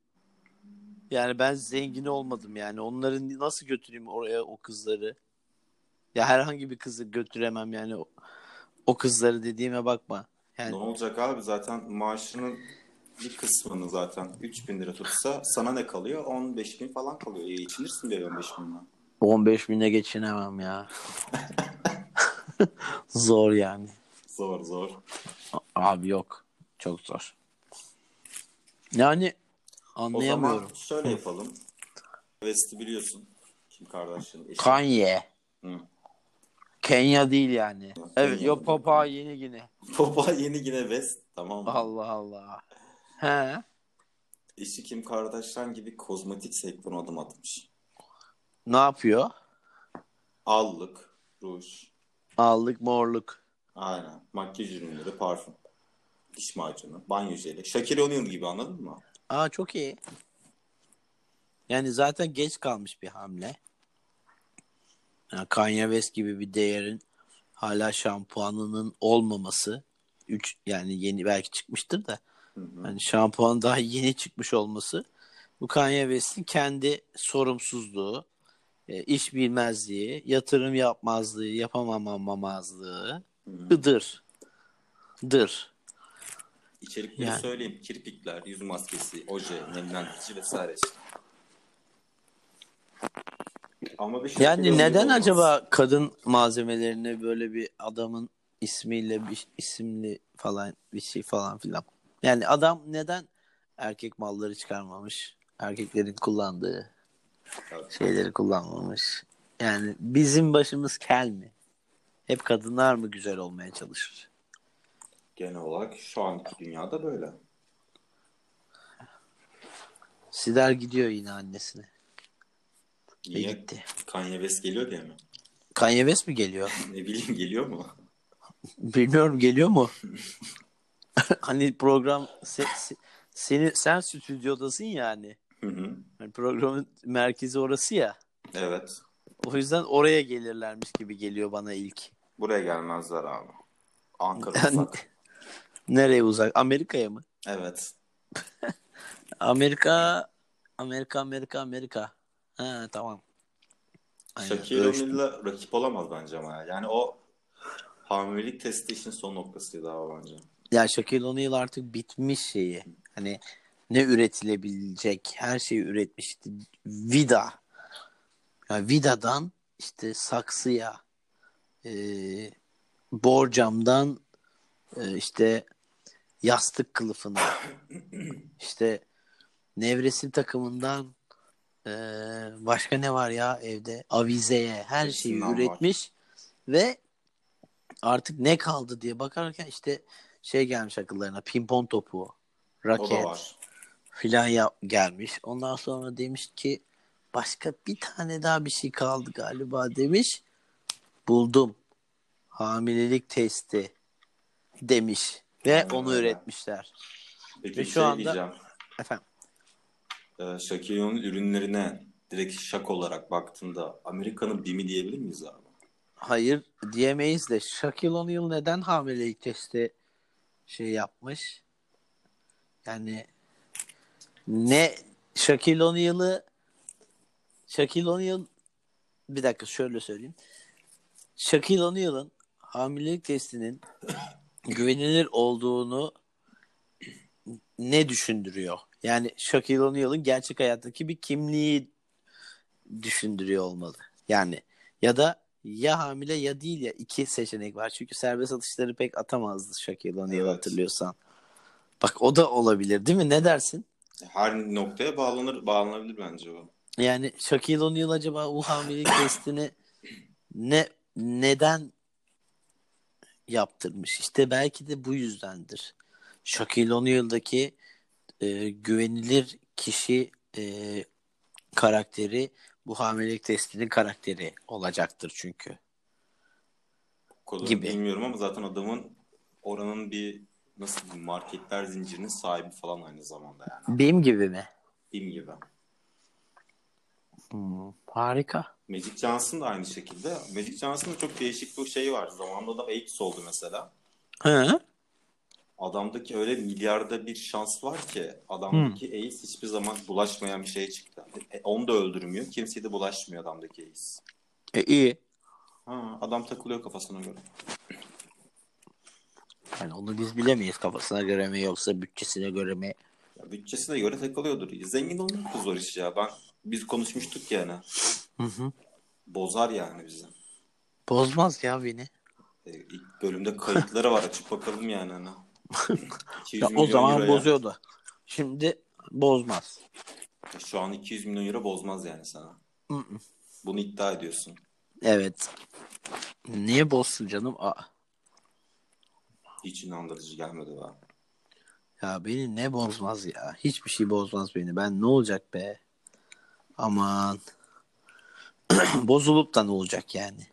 Yani ben zengin olmadım yani. Onları nasıl götüreyim oraya o kızları? Ya herhangi bir kızı götüremem yani. O, o kızları dediğime bakma. Yani Ne olacak abi zaten maaşının bir kısmını zaten 3000 lira tutsa sana ne kalıyor? 15 bin falan kalıyor. İyi geçinirsin diye 15 binden. 15 bine geçinemem ya. (laughs) zor yani. Zor zor. Abi yok. Çok zor. Yani O zaman anlayamıyorum. şöyle yapalım. West'i biliyorsun. Kim Kardashian eşi. Kanye. Hı. Kenya değil yani. Evet Kenya. yok Papua Yeni Gine. (laughs) Baba yeni yine West tamam mı? Allah Allah. He. Eşi Kim Kardashian gibi kozmetik sektörüne adım atmış. Ne yapıyor? Allık, ruj, Allık morluk. aynen. Makyaj ürünleri, parfüm, diş macunu, banyo jeli. Şakir O'Neal gibi anladın mı? Aa çok iyi. Yani zaten geç kalmış bir hamle. Yani Kanye West gibi bir değerin hala şampuanının olmaması. Üç, yani yeni belki çıkmıştır da. Hani şampuan daha yeni çıkmış olması. Bu Kanye West'in kendi sorumsuzluğu, e, iş bilmezliği, yatırım yapmazlığı, yapamamamazlığı, ıdır. Dır. İçerikleri Yani. söyleyeyim. Kirpikler, yüz maskesi, oje, nemlendirici vesaire işte. Ama bir Şakir Yani O'Neal neden olmaz. acaba kadın malzemelerine böyle bir adamın ismiyle bir isimli falan bir şey falan filan. Yani adam neden erkek malları çıkarmamış? Erkeklerin kullandığı Evet. şeyleri kullanmamış. Yani bizim başımız kel mi? Hep kadınlar mı güzel olmaya çalışır? Genel olarak şu anki dünyada böyle. E Sider gidiyor yine annesine. Ve Niye? gitti. Kanye West geliyor diye mi? (laughs) Kanye West mi geliyor? Ne bileyim geliyor mu? Bilmiyorum geliyor mu? (laughs) hani program se- se- seni sen stüdyodasın yani. Hı hı. Hani programın merkezi orası ya. Evet. O yüzden oraya gelirlermiş gibi geliyor bana ilk. Buraya gelmezler abi. Ankara Yani, uzak. (laughs) nereye uzak? Amerika'ya mı? Evet. Amerika Amerika Amerika Amerika. Ha tamam. Aynen, Şakir ölçtüm. O'Neal'la rakip olamaz bence ama ya. Yani o hamilelik testi için son noktasıydı abi bence. Ya Shaquille O'Neal artık bitmiş şeyi. Hani ne üretilebilecek her şeyi üretmişti. Vida. Ya vidadan işte saksıya, e, borcamdan e, işte yastık kılıfına, işte nevresim takımından e, başka ne var ya evde avizeye her şeyi Hepsinden var. üretmiş ve artık ne kaldı diye bakarken işte şey gelmiş akıllarına pimpon topu, O da raket var. filan yap- gelmiş. Ondan sonra demiş ki başka bir tane daha bir şey kaldı galiba demiş. Buldum. Hamilelik testi demiş ve Aynen onu öyle. üretmişler. Peki Ve bir şu şey anda- diyeceğim. Efendim. Ee, Şakir O'Neal ürünlerine direkt şak olarak baktığında Amerika'nın BİM'i diyebilir miyiz abi? Hayır diyemeyiz de Shaquille O'Neal neden hamilelik testi şey yapmış? Yani ne Shaquille O'Neal'ı Shaquille O'Neal bir dakika şöyle söyleyeyim. Shaquille O'Neal'ın hamilelik testinin güvenilir olduğunu ne düşündürüyor? Yani Shaquille O'Neal'ın gerçek hayattaki bir kimliği düşündürüyor olmalı. Yani ya da ya hamile ya değil ya iki seçenek var. Çünkü serbest atışları pek atamazdı Shaquille O'Neal Evet. hatırlıyorsan. Bak o da olabilir değil mi? Ne dersin? Her noktaya bağlanır, bağlanabilir bence o. Yani Shaquille O'Neal acaba bu hamilelik testini ne neden yaptırmış? İşte belki de bu yüzdendir. Shaquille O'Neal'daki e, güvenilir kişi e, karakteri bu hamilelik testinin karakteri olacaktır çünkü. O kadar Gibi. Bilmiyorum ama zaten adamın oranın bir nasıl diyeyim marketler zincirinin sahibi falan aynı zamanda yani. Benim gibi mi? BİM gibi. Hmm, harika. Magic Johnson da aynı şekilde. Magic Johnson'ın çok değişik bir şeyi var. Zamanında da Apes oldu mesela. Hı? Adamdaki öyle milyarda bir şans var ki adamdaki AIDS hiçbir zaman bulaşmayan bir şey çıktı. E, onu da öldürmüyor. Kimseye de bulaşmıyor adamdaki AIDS. E, iyi. Ha, adam takılıyor kafasına göre. Yani onu biz bilemeyiz kafasına göre mi yoksa bütçesine göre mi? Ya, bütçesine göre takılıyordur. Zengin olmak da zor iş ya. Ben, biz konuşmuştuk yani. Hı hı. Bozar yani bizi. Bozmaz ya beni. E, ilk bölümde kayıtları var. Açıp bakalım yani. (laughs) Hani. 200 Ya, o milyon zaman euro ya. bozuyordu. Şimdi bozmaz. E, Şu an 200 milyon euro bozmaz yani sana. Hı hı. Bunu iddia ediyorsun. Evet. Niye bozsun canım? Aa, Hiç inandırıcı gelmedi bana. ya beni ne bozmaz ya? Hiçbir şey bozmaz beni. Ben ne olacak be? Aman. (clears throat) Bozulup da ne olacak yani?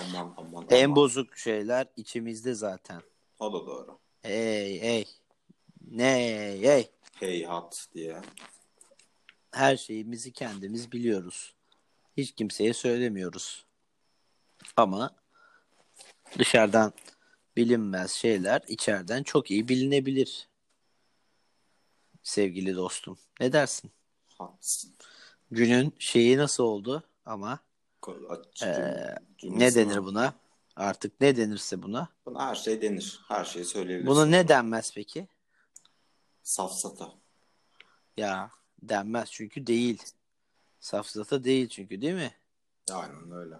Aman aman En aman. bozuk şeyler içimizde zaten. O da doğru. Hey hey. Ne hey. Heyhat diye. Her şeyimizi kendimiz biliyoruz. Hiç kimseye söylemiyoruz. Ama dışarıdan bilinmez şeyler içeriden çok iyi bilinebilir. Sevgili dostum. Ne dersin? Haklısın. Günün şeyi nasıl oldu ama Ko- aç- Ee, cümlesi ne denir var. buna? Artık ne denirse buna. Buna her şey denir. Her şeyi söyleyebilirsin. Buna ne denmez peki? Safsata. Ya denmez çünkü değil. Safsata değil çünkü değil mi? Aynen öyle.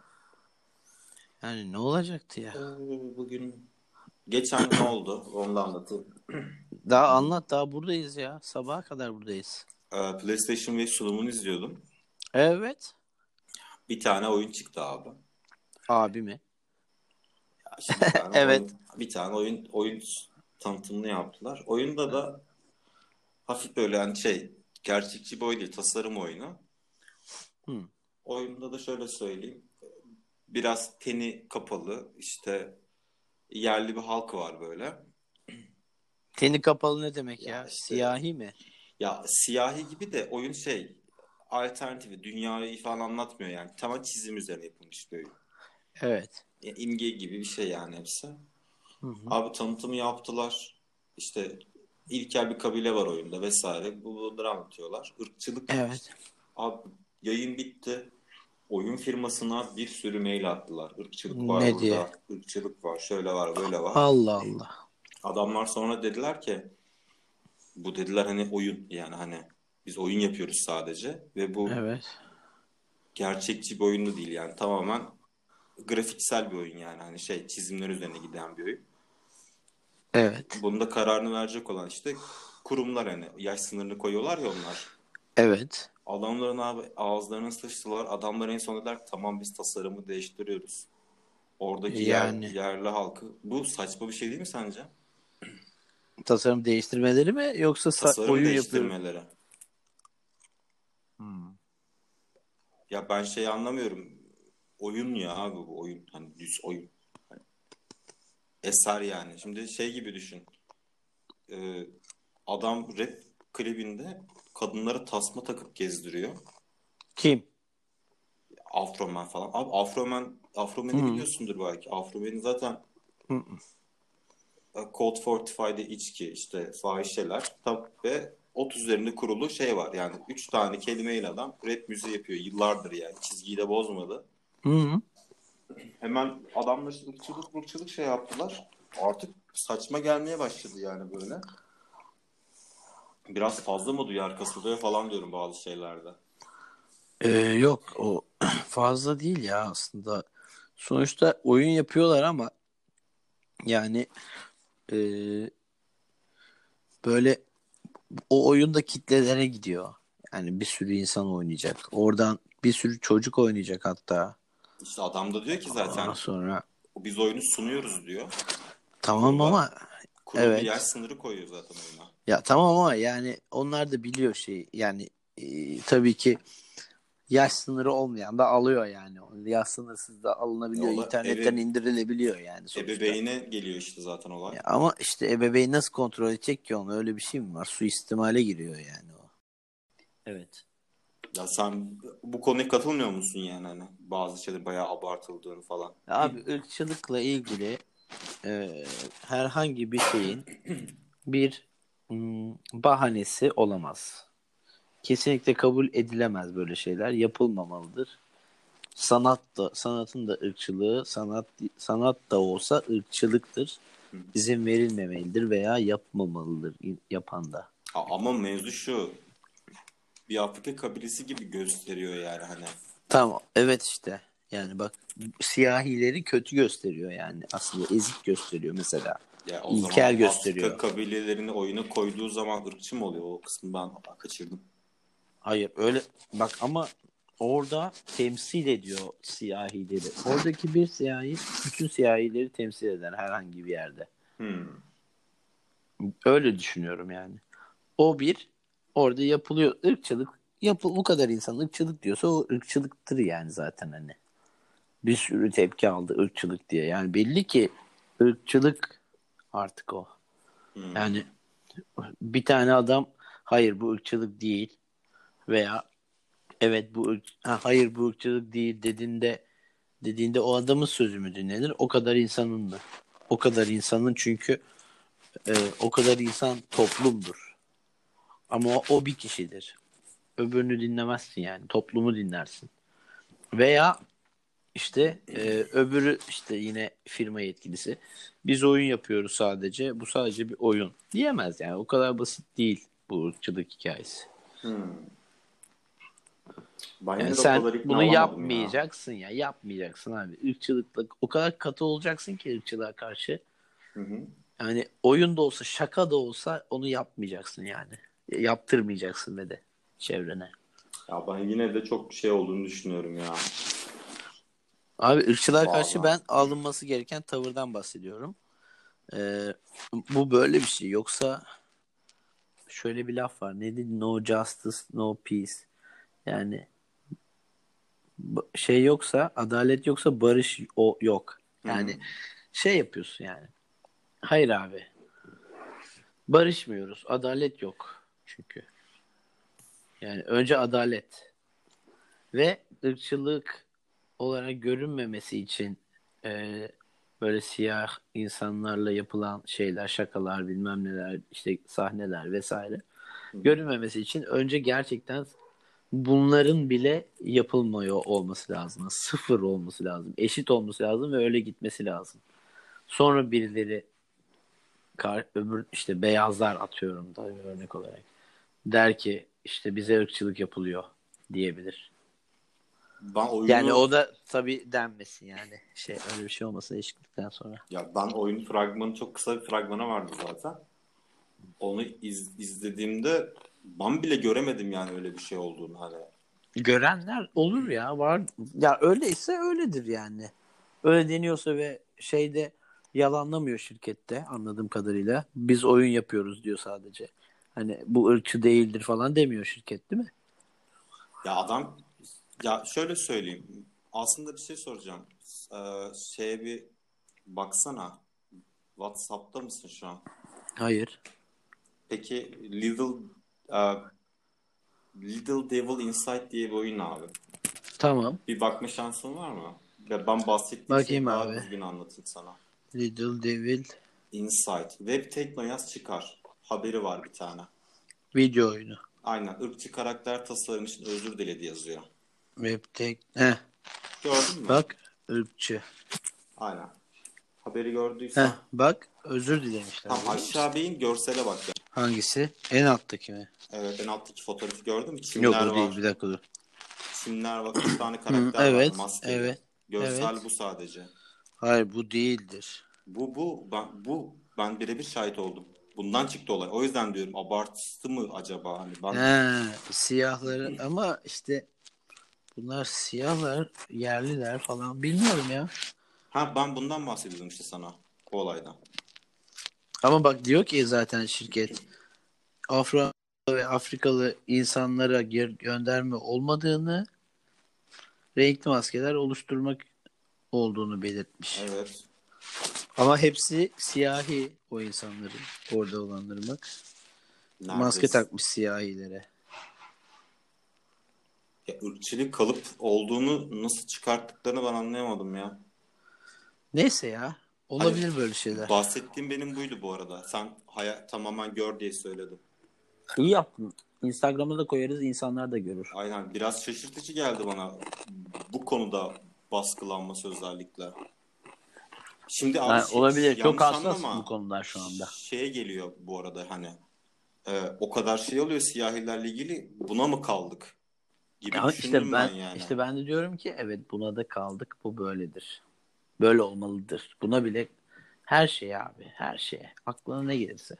Yani ne olacaktı ya? Ee, Bugün geçen ne oldu? Onu da anlatayım. Daha anlat daha buradayız ya. Sabaha kadar buradayız. Ee, PlayStation ve sunumunu izliyordum. Evet. Bir tane oyun çıktı abi. Abi mi? Ya işte bir tane Evet. Oyun, bir tane oyun oyun tanıtımını yaptılar. Oyunda da hafif böyle hani şey gerçekçi bir oyun değil, tasarım oyunu. Hı. Oyunda da şöyle söyleyeyim. Biraz teni kapalı işte yerli bir halk var böyle. Teni kapalı ne demek ya? Ya işte- Siyahi mi? Ya siyahi gibi de oyun şey alternatifi dünyayı falan anlatmıyor yani. Tamamen çizim üzerine yapılmış bir oyun. Evet. Ya, imge gibi bir şey yani hepsi. Hı hı. Abi tanıtımı yaptılar. İşte ilkel bir kabile var oyunda vesaire. Bu- Bunları anlatıyorlar. Irkçılık. Evet. Abi yayın bitti. Oyun firmasına bir sürü mail attılar. Irkçılık var Ne burada. diye? Irkçılık var. Şöyle var böyle var. Allah Allah. Adamlar sonra dediler ki bu dediler hani oyun yani hani biz oyun yapıyoruz sadece ve bu Evet. gerçekçi bir oyunu değil yani tamamen grafiksel bir oyun yani hani şey çizimler üzerine giden bir oyun. Evet. Bunda kararını verecek olan işte kurumlar hani yaş sınırını koyuyorlar ya onlar. Evet. Adamların abi ağızlarını sıçtılar. Adamlar en son dediler ki, tamam biz tasarımı değiştiriyoruz. Oradaki yer- Yani. yerli halkı. Bu saçma bir şey değil mi sence? Tasarım değiştirmeleri mi yoksa sa- Tasarım oyun yapıyor? değiştirmeleri. Hmm. Ya ben şey anlamıyorum. Oyun ya abi bu oyun. Hani düz oyun. Hani eser yani. Şimdi şey gibi düşün. Ee, adam rap klibinde kadınlara tasma takıp gezdiriyor. Kim? Afroman falan. Abi Afroman Afroman'i Hı. biliyorsundur belki. Afroman'i zaten Hı hı. e, Code 45'de içki işte fahişeler tab ve ot üzerinde kurulu şey var. Yani üç tane kelimeyle adam rap müziği yapıyor yıllardır yani. Çizgiyi de bozmadı. Hı. Hemen adamlar ırkçılık ırkçılık şey yaptılar. Artık saçma gelmeye başladı yani böyle. Biraz fazla mı duyar kasılıyor falan diyorum bazı şeylerde. Ee, yok o (clears throat) fazla değil ya aslında. Sonuçta oyun yapıyorlar ama yani e, böyle o oyunda kitlelere gidiyor. Yani bir sürü insan oynayacak. Oradan bir sürü çocuk oynayacak hatta. İşte adam da diyor ki zaten Ondan sonra biz oyunu sunuyoruz diyor. tamam ama Kurulu Evet. yaş sınırı koyuyor zaten oyuna. Ya tamam ama yani onlar da biliyor şey yani e, tabii ki yaş sınırı olmayan da alıyor yani. Yaş sınırsız da alınabiliyor. Yola- internetten ebe- indirilebiliyor yani sonuçta. Ebeveyne geliyor işte zaten olay. Ya ama işte ebeveyn nasıl e kontrol edecek ki onu? Öyle bir şey mi var? Suistimale giriyor yani o. Evet. Ya sen bu konuya katılmıyor musun yani hani bazı şeylerin bayağı abartıldığını falan. Abi ırkçılıkla ilgili e, herhangi bir şeyin bir mm, bahanesi olamaz. Kesinlikle kabul edilemez böyle şeyler. Yapılmamalıdır. Sanat da sanatın da ırkçılığı sanat sanat da olsa ırkçılıktır. İzin verilmemelidir veya yapmamalıdır in- yapan da. A- ama mevzu şu. Bir Afrika kabilesi gibi gösteriyor yani hani. Tamam. Evet işte. Yani bak siyahileri kötü gösteriyor yani. Aslında ezik gösteriyor mesela. Ya o İlkel zaman gösteriyor. Afrika kabilelerini oyuna koyduğu zaman ırkçı mı oluyor? O kısmı ben kaçırdım. Hayır öyle bak ama orada temsil ediyor siyahileri. Oradaki bir siyahi bütün siyahileri temsil eder herhangi bir yerde. Hmm. Öyle düşünüyorum yani. O bir orada yapılıyor ırkçılık. Yapıl bu kadar insan ırkçılık diyorsa o ırkçılıktır yani zaten hani. Bir sürü tepki aldı ırkçılık diye. Yani belli ki ırkçılık artık o. Hmm. Yani bir tane adam hayır bu ırkçılık değil veya evet bu ırk- ha, hayır bu ırkçılık değil dediğinde dediğinde o adamın sözü mü dinlenir? O kadar insanın da. O kadar insanın çünkü e, o kadar insan toplumdur. Ama o, o bir kişidir. Öbürünü dinlemezsin yani. Toplumu dinlersin. Veya işte e, öbürü işte yine firma yetkilisi. Biz oyun yapıyoruz sadece. Bu sadece bir oyun. Diyemez yani. O kadar basit değil bu ırkçılık hikayesi. Hmm. Ben yine Yani de o kadar sen ikna bunu olamadım ya. yapmayacaksın ya. Yapmayacaksın abi. Irkçılıkla o kadar katı olacaksın ki ırkçılığa karşı. Hı hı. Yani oyun da olsa şaka da olsa onu yapmayacaksın yani. Yaptırmayacaksın ve de çevrene. Ya ben yine de çok şey olduğunu düşünüyorum ya. Abi ırkçılığa Vallahi. karşı ben alınması gereken tavırdan bahsediyorum. Ee, bu böyle bir şey. Yoksa şöyle bir laf var. Neydi? No justice, no peace. Yani bu- şey yoksa, adalet yoksa barış o yok. Yani şey yapıyorsun yani. Hayır abi. Barışmıyoruz. Adalet yok çünkü. Yani önce adalet ve ırkçılık olarak görünmemesi için e, böyle siyah insanlarla yapılan şeyler, şakalar, bilmem neler, işte sahneler vesaire görünmemesi için önce gerçekten bunların bile yapılmıyor olması lazım. Sıfır olması lazım. Eşit olması lazım ve öyle gitmesi lazım. Sonra birileri kar, öbür işte beyazlar atıyorum da bir örnek olarak der ki işte bize ırkçılık yapılıyor diyebilir. Ben oyunu Yani o da tabii denmesin yani. Şey öyle bir şey olmasın eşitlikten sonra. ya ben oyun fragmanı çok kısa bir fragmana vardı zaten. Onu iz- izlediğimde ben bile göremedim yani öyle bir şey olduğunu hani. Görenler olur ya var. Ya öyleyse öyledir yani. Öyle deniyorsa ve şeyde yalanlamıyor şirkette anladığım kadarıyla. Biz oyun yapıyoruz diyor sadece. Hani bu ırkçı değildir falan demiyor şirket değil mi? Ya adam ya şöyle söyleyeyim. Aslında bir şey soracağım. Ee, şeye bir baksana. WhatsApp'ta mısın şu an? Hayır. Peki Little e, Little Devil Inside diye bir oyun abi. Tamam. Bir bakma şansın var mı? Ya ben bahsettiğim Bakayım şeyi daha abi. düzgün anlatayım sana. Little Devil Insight. Web Tekno yaz çıkar. Haberi var bir tane. video oyunu. Aynen. Irkçı karakter tasarım için özür diledi yazıyor. Webtek. Heh, Gördün mü? bak ırkçı. Aynen. Haberi gördüysen. Heh, bak özür dilemişler. Tam aşağı bir in görsele bak. ya. Hangisi? En alttaki mi? Evet en alttaki fotoğrafı gördün mü? Çimler Yok o var. değil bir dakika dur. Çimler var. (clears throat) Üç tane karakter evet, var. Maskeli. evet, Görsel evet. bu sadece. Hayır bu değildir. Bu bu ben bu ben birebir şahit oldum. Bundan çıktı olay. O yüzden diyorum abartı mı acaba hani ben He, siyahları ama işte bunlar siyahlar, yerliler falan bilmiyorum ya. ha ben bundan bahsediyordum işte sana bu olaydan. Ama bak diyor ki zaten şirket Afro ve Afrikalı insanlara gö- gönderme olmadığını renkli maskeler oluşturmak olduğunu belirtmiş. Evet. Ama hepsi siyahi o insanların orada olanların bak. Neredeyiz? Maske takmış siyahilere. Ya ırkçılık kalıp olduğunu nasıl çıkarttıklarını ben anlayamadım ya. Neyse ya. Olabilir böyle şeyler. Bahsettiğim benim buydu bu arada. Sen hayat tamamen gör diye söyledim. İyi yaptın. Instagram'a da koyarız insanlar da görür. Aynen biraz şaşırtıcı geldi bana bu konuda baskılanması özellikle. Şimdi abi Ha, şey- olabilir. yanlış Çok hassas anlama. bu konular şu anda. Şeye geliyor bu arada hani e, o kadar şey oluyor siyahilerle ilgili buna mı kaldık? Gibi Ya düşündüm işte ben, yani. işte ben de diyorum ki evet buna da kaldık. Bu böyledir. Böyle olmalıdır. Buna bile her şey abi, her şeye. Aklına ne gelirse.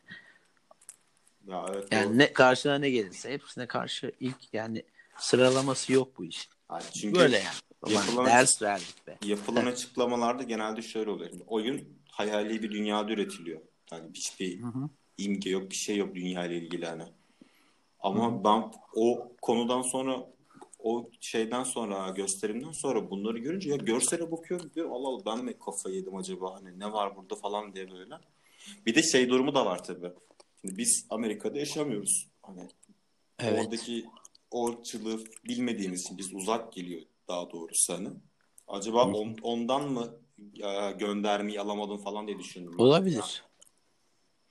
Ya evet, doğru. Yani ne karşına ne gelirse hepsine karşı ilk yani sıralaması yok bu iş. Yani çünkü Böyle yani. Ulan yapılan- ders verdik be. yapılan açıklamalarda genelde şöyle oluyor. Şimdi oyun hayali bir dünyada üretiliyor. Yani hiçbir hı. imge yok, bir şey yok dünya ile ilgili hani. Ama ben o konudan sonra o şeyden sonra gösterimden sonra bunları görünce ya görsele bakıyorum diyorum Allah Allah ben mi kafa yedim acaba hani ne var burada falan diye böyle. Bir de şey durumu da var tabii. Şimdi biz Amerika'da yaşamıyoruz. Hani Evet. Oradaki orçılığı bilmediğimiz için biz uzak geliyor daha doğrusu hani. Acaba on- ondan mı e, göndermeyi alamadım falan diye düşündüm. Olabilir.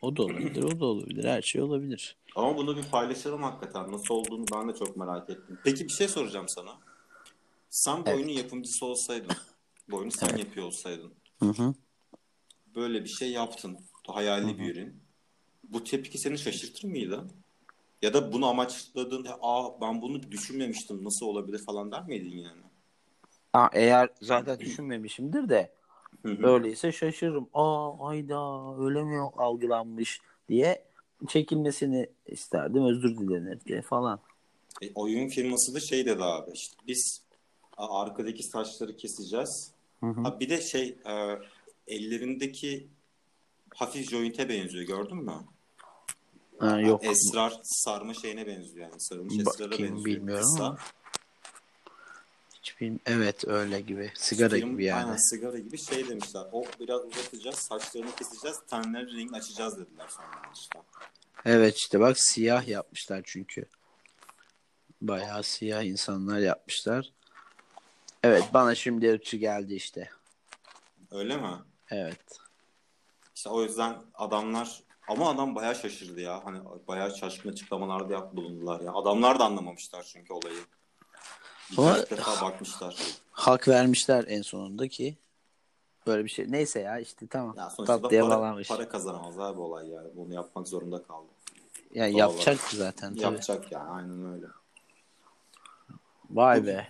O da olabilir, o da olabilir. Her şey olabilir. Ama bunu bir paylaşalım hakikaten. Nasıl olduğunu ben de çok merak ettim. Peki bir şey soracağım sana. Sen bu Evet. oyunun yapımcısı olsaydın, bu oyunu sen yapıyor olsaydın, Hı hı. böyle bir şey yaptın, hayali bir ürün. Bu tepki seni şaşırtır mıydı? Ya da bunu amaçladığın, aa ben bunu düşünmemiştim, nasıl olabilir falan der miydin yani? Ha, eğer zaten düşünmemişimdir de Hı hı. öyleyse şaşırırım. Aa ayda öyle mi algılanmış diye çekilmesini isterdim. Özür dilenirdi falan. E, oyun firması da şey dedi abi işte biz a, arkadaki saçları keseceğiz. Hı hı. Ha, bir de şey e, ellerindeki hafif jointe benziyor gördün mü? Ha, yok. Esrar sarma şeyine benziyor yani sarılmış Bakayım, esrara benziyor. bilmiyorum Kısa. ama Hiç bilmi- Evet öyle gibi. Sigara Film- gibi yani. Aynen sigara gibi şey demişler. O biraz uzatacağız, saçlarını keseceğiz, tenlerin rengini açacağız dediler sonra işte. Evet işte bak siyah yapmışlar çünkü. Bayağı siyah insanlar yapmışlar. Evet bana şimdi ırkçı geldi işte. Öyle mi? Evet. İşte o yüzden adamlar ama adam bayağı şaşırdı ya. Hani bayağı şaşkın açıklamalarda yap bulundular ya. Adamlar da anlamamışlar çünkü olayı. Ama- Birkaç defa bakmışlar. Hak vermişler en sonunda ki. Böyle bir şey. Neyse ya işte tamam. Ya sonuçta da Tatlıya para, bağlamış. para kazanamaz abi olay yani. Bunu yapmak zorunda kaldı. Yani Doğal yapacak zaten tabii. Yapacak yani aynen öyle. Vay be.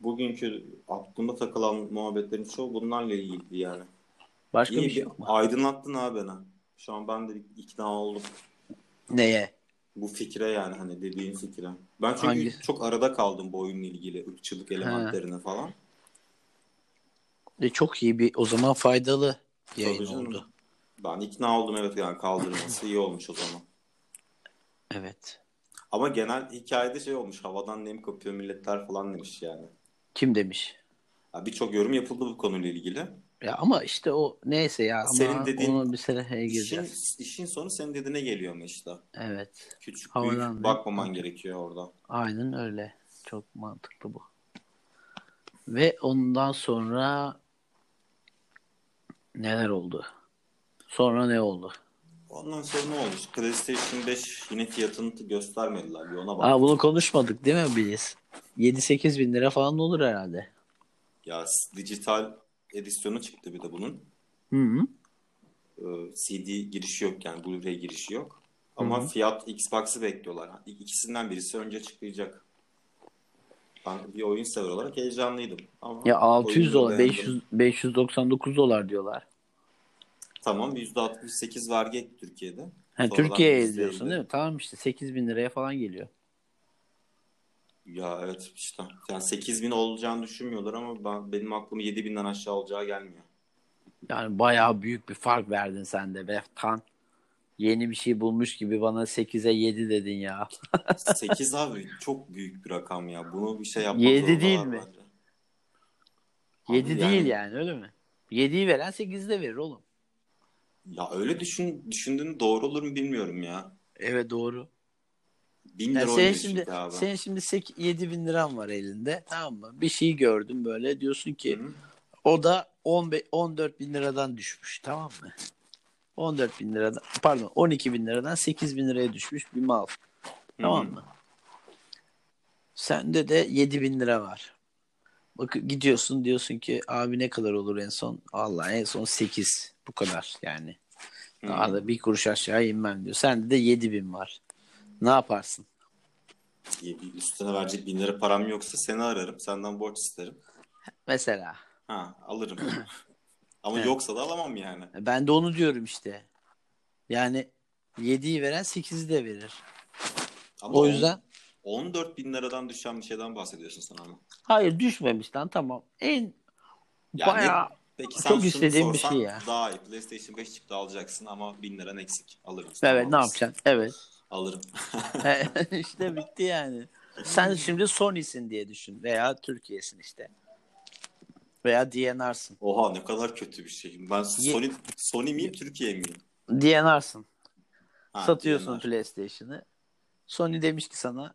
Bugünkü aklımda takılan muhabbetlerin çoğu bunlarla ilgili yani. Başka İyi bir şey bir yok mu? aydınlattın abi beni. Şu an ben de ikna oldum. Neye? Bu fikre yani hani dediğin fikre. Ben çünkü Hangisi? çok arada kaldım bu oyunla ilgili ırkçılık elementlerine falan. E, çok iyi bir o zaman faydalı yayın Tabii canım. oldu. Ben ikna oldum evet yani kaldırılması iyi olmuş o zaman. Evet. Ama genel hikayede şey olmuş havadan nem kapıyor milletler falan demiş yani. Kim demiş? Ya Birçok yorum yapıldı bu konuyla ilgili. Ya ama işte o neyse ya. Ama Senin dediğin onu bir sene şey İşin, gireceğiz. işin sonu senin dediğine geliyor mu işte? Evet. Küçük Havadan nem büyük bakmaman gerekiyor orada. Aynen öyle. Çok mantıklı bu. Ve ondan sonra neler oldu? Sonra ne oldu? Ondan sonra ne olmuş? PlayStation 5 yine fiyatını göstermediler. Bir ona bak. Aa bunu konuşmadık değil mi biz? 7-8 bin lira falan olur herhalde. Ya s- dijital edisyonu çıktı bir de bunun. Hı -hı. Ee, CD girişi yok yani Blu-ray girişi yok. Ama fiyat Xbox'ı bekliyorlar. İ- İkisinden birisi önce çıkacak. Ben bir oyun sever olarak heyecanlıydım. Ama Ya 600 oyunu dolar, beğendim. 500, 599 dolar diyorlar. Tamam %68 vergi etti Türkiye'de. Ha, Sonradan Türkiye'ye %50. izliyorsun değil mi? Tamam işte 8 bin liraya falan geliyor. Ya evet işte. Yani 8 bin olacağını düşünmüyorlar ama ben, benim aklım 7 binden aşağı olacağı gelmiyor. Yani bayağı büyük bir fark verdin sen de be Tan. Yeni bir şey bulmuş gibi bana 8'e 7 dedin ya. 8 abi (laughs) çok büyük bir rakam ya. Bunu bir şey yapmak Yedi zorundalar değil mi? bence. 7 Abi değil yani öyle mi? 7'yi veren 8'i de verir oğlum. Ya öyle düşün, düşündüğün doğru olur mu bilmiyorum ya. Evet doğru. Bin Yani lira senin oynuyor şimdi çünkü abi. senin şimdi 7 bin liran var elinde tamam mı? Bir şey gördün böyle diyorsun ki Hı. o da 15, 14 bin liradan düşmüş tamam mı? 14 bin liradan pardon 12 bin liradan 8 bin liraya düşmüş bir mal tamam Hı. mı? Sende de 7 bin lira var. Bak gidiyorsun diyorsun ki abi ne kadar olur en son? Allah en son 8 bu kadar yani. Hı. Daha da bir kuruş aşağı inmem diyor. Sende de 7 bin var. Ne yaparsın? Bir Üstüne verecek bin lira param yoksa seni ararım. Senden borç isterim. Mesela. Ha (laughs) alırım. Ama Evet. yoksa da alamam yani. Ben de onu diyorum işte. Yani 7'yi veren 8'i de verir. Ama O on- yüzden 14 bin liradan düşen bir şeyden bahsediyorsun sen ama. hayır düşmemiş lan tamam. En Yani bayağı Peki Çok Samsung istediğim bir sorsan şey ya. Daha iyi. PlayStation 5 çıktı alacaksın ama 1000 liran eksik. Alırım. evet Tamam, ne yapacaksın? Evet. (laughs) (laughs) Alırım. işte bitti yani. Hmm. Sen şimdi Sony'sin diye düşün veya Türkiye'sin işte. Veya DNR'sın. Oha ne kadar kötü bir şey. Ben Sony, Sony miyim Türkiye miyim? DNR'sın. Ha, Satıyorsun diyenler. PlayStation'ı. Sony demiş ki sana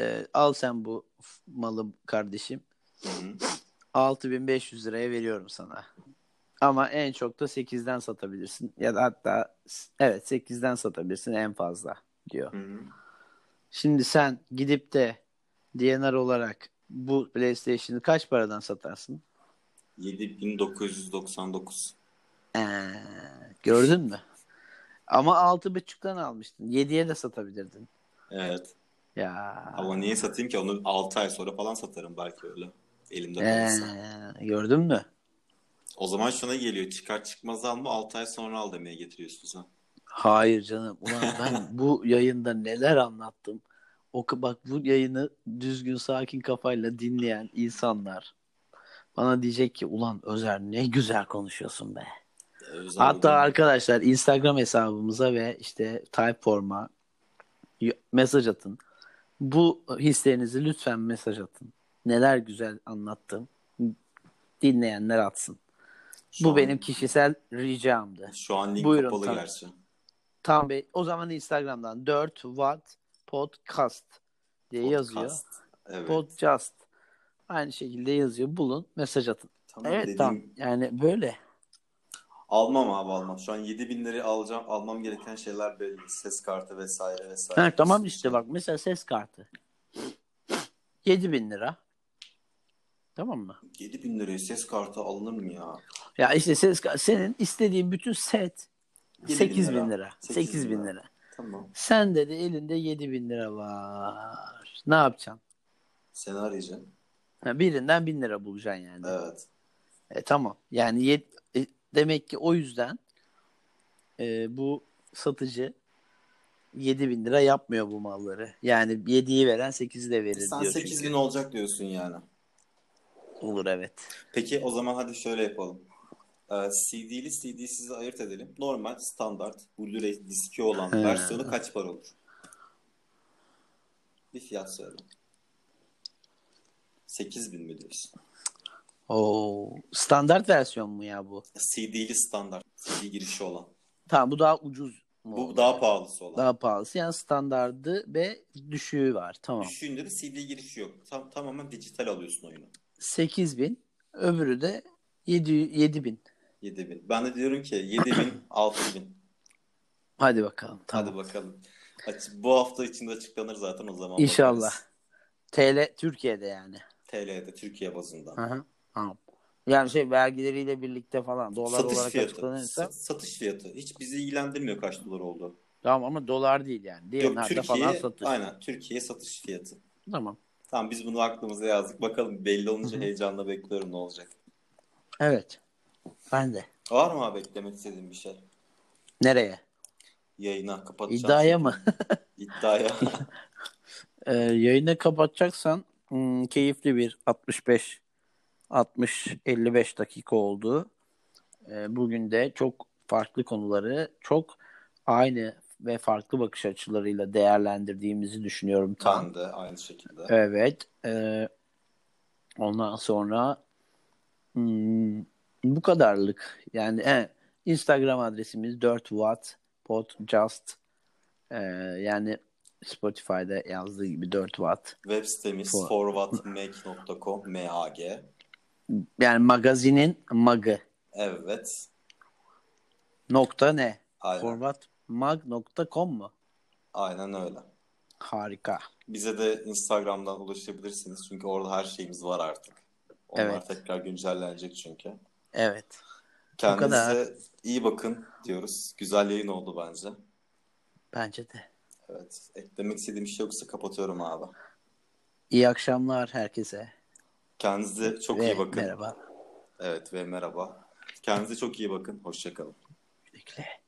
e, al sen bu f- malı kardeşim. Hı hı. 6500 liraya veriyorum sana. Ama en çok da 8'den satabilirsin. Ya da hatta s- evet 8'den satabilirsin en fazla diyor. Hı hı. Şimdi sen gidip de DNR olarak bu PlayStation'ı kaç paradan satarsın? 7999. Ee, gördün mü? Ama 6.5'tan almıştın. 7'ye de satabilirdin. Evet. Ya. Ama niye satayım ki? Onu 6 ay sonra falan satarım belki öyle. Elimde Ee, kalırsa. gördün mü? O zaman şuna geliyor. Çıkar çıkmaz alma 6 ay sonra al demeye getiriyorsun sen. Hayır canım. Ulan ben bu yayında neler anlattım. O k- bak bu yayını düzgün sakin kafayla dinleyen insanlar bana diyecek ki ulan Özer ne güzel konuşuyorsun be. Ee, özel Hatta bir- arkadaşlar Instagram hesabımıza ve işte Typeform'a y- mesaj atın. Bu hislerinizi lütfen mesaj atın. Neler güzel anlattım. Dinleyenler atsın. Şu bu an- benim kişisel ricamdı. Şu an link Buyurun, kapalı tamam. gerçi. Tamam be. O zaman Instagram'dan 4 watt podcast diye Şey yazıyor. Podcast. Evet. Podcast. Aynı şekilde yazıyor. Bulun, mesaj atın. Tamam, evet dediğim- tamam. Yani böyle. Almam abi almam. Şu an 7000 liraya alacağım. Almam gereken şeyler belli. Ses kartı vesaire vesaire. Ha, tamam işte bak mesela ses kartı. 7000 lira. Tamam mı? 7000 liraya ses kartı alınır mı ya? Ya işte ses ka- senin istediğin bütün set 7000 8000 lira. Sekiz bin 8000 lira. Tamam. Sen de elinde 7000 lira var. Ne yapacaksın? Seni arayacağım. Ha, birinden 1000 lira bulacaksın yani. Evet. E, tamam. Yani yet- e, demek ki o yüzden e, bu satıcı 7000 bin lira yapmıyor bu malları. Yani 7'yi veren 8'i de verir Sen diyor. 8000 çünkü. olacak diyorsun yani. Olur evet. Peki o zaman hadi şöyle yapalım. Ee, CD'li CD'sizi ayırt edelim. Normal, standart, Blu-ray diski olan He. versiyonu kaç para olur? Bir fiyat söyle. 8000 mi diyorsun? Oo, standart versiyon mu ya bu? CD'li standart. CD girişi olan. Tamam bu daha ucuz mu? Bu daha pahalısı olan. daha pahalısı. Yani standardı ve düşüğü var. Tamam. Düşündüğünde CD girişi yok. Tam, tamamen dijital alıyorsun oyunu. 8000 öbürü de 7 7000. 7000. Ben de diyorum ki (coughs) 7000, 6000. Hadi bakalım. Tamam. Hadi bakalım. Aç- bu hafta içinde açıklanır zaten o zaman. İnşallah. bakarız. TL Türkiye'de yani. TL'de Türkiye bazında. Aha, tamam. Yani şey vergileriyle birlikte falan dolar satış olarak fiyatı. açıklanırsa Sa- satış fiyatı. Hiç bizi ilgilendirmiyor kaç dolar oldu. tamam ama dolar değil yani. Yok Diğerlerde falan Türkiye, satış. aynen Türkiye satış fiyatı. Tamam. Tamam biz bunu aklımıza yazdık. Bakalım belli olunca heyecanla bekliyorum ne olacak. Evet. Ben de. Var mı abi eklemek istediğin bir şey? Nereye? Yayına kapatacağım. İddiaya mı? (laughs) (laughs) İddiaya. Ee, yayını kapatacaksan hmm, keyifli bir 65 60 55 dakika oldu. Ee, bugün de çok farklı konuları çok aynı ve farklı bakış açılarıyla değerlendirdiğimizi düşünüyorum tam. ben de aynı şekilde. Evet. e, ondan sonra hmm, bu kadarlık. Yani e, Instagram adresimiz 4 watt podcast. E, yani Spotify'da yazdığı gibi 4 watt. Web sitemiz For- forwardmag.com MAG. Yani magazinin magı. Evet. Nokta ne? Aynen. Format mag.com mu? Aynen öyle. Harika. Bize de Instagram'dan ulaşabilirsiniz. Çünkü orada her şeyimiz var artık. Onlar Evet. tekrar güncellenecek çünkü. Evet. Kendinize kadar. iyi bakın diyoruz. Güzel yayın oldu bence. Bence de. Evet. Eklemek istediğim bir şey yoksa kapatıyorum abi. İyi akşamlar herkese. Kendinize çok Ve iyi bakın. Merhaba. Evet ve merhaba. Kendinize çok iyi bakın. Hoşçakalın. Güle güle.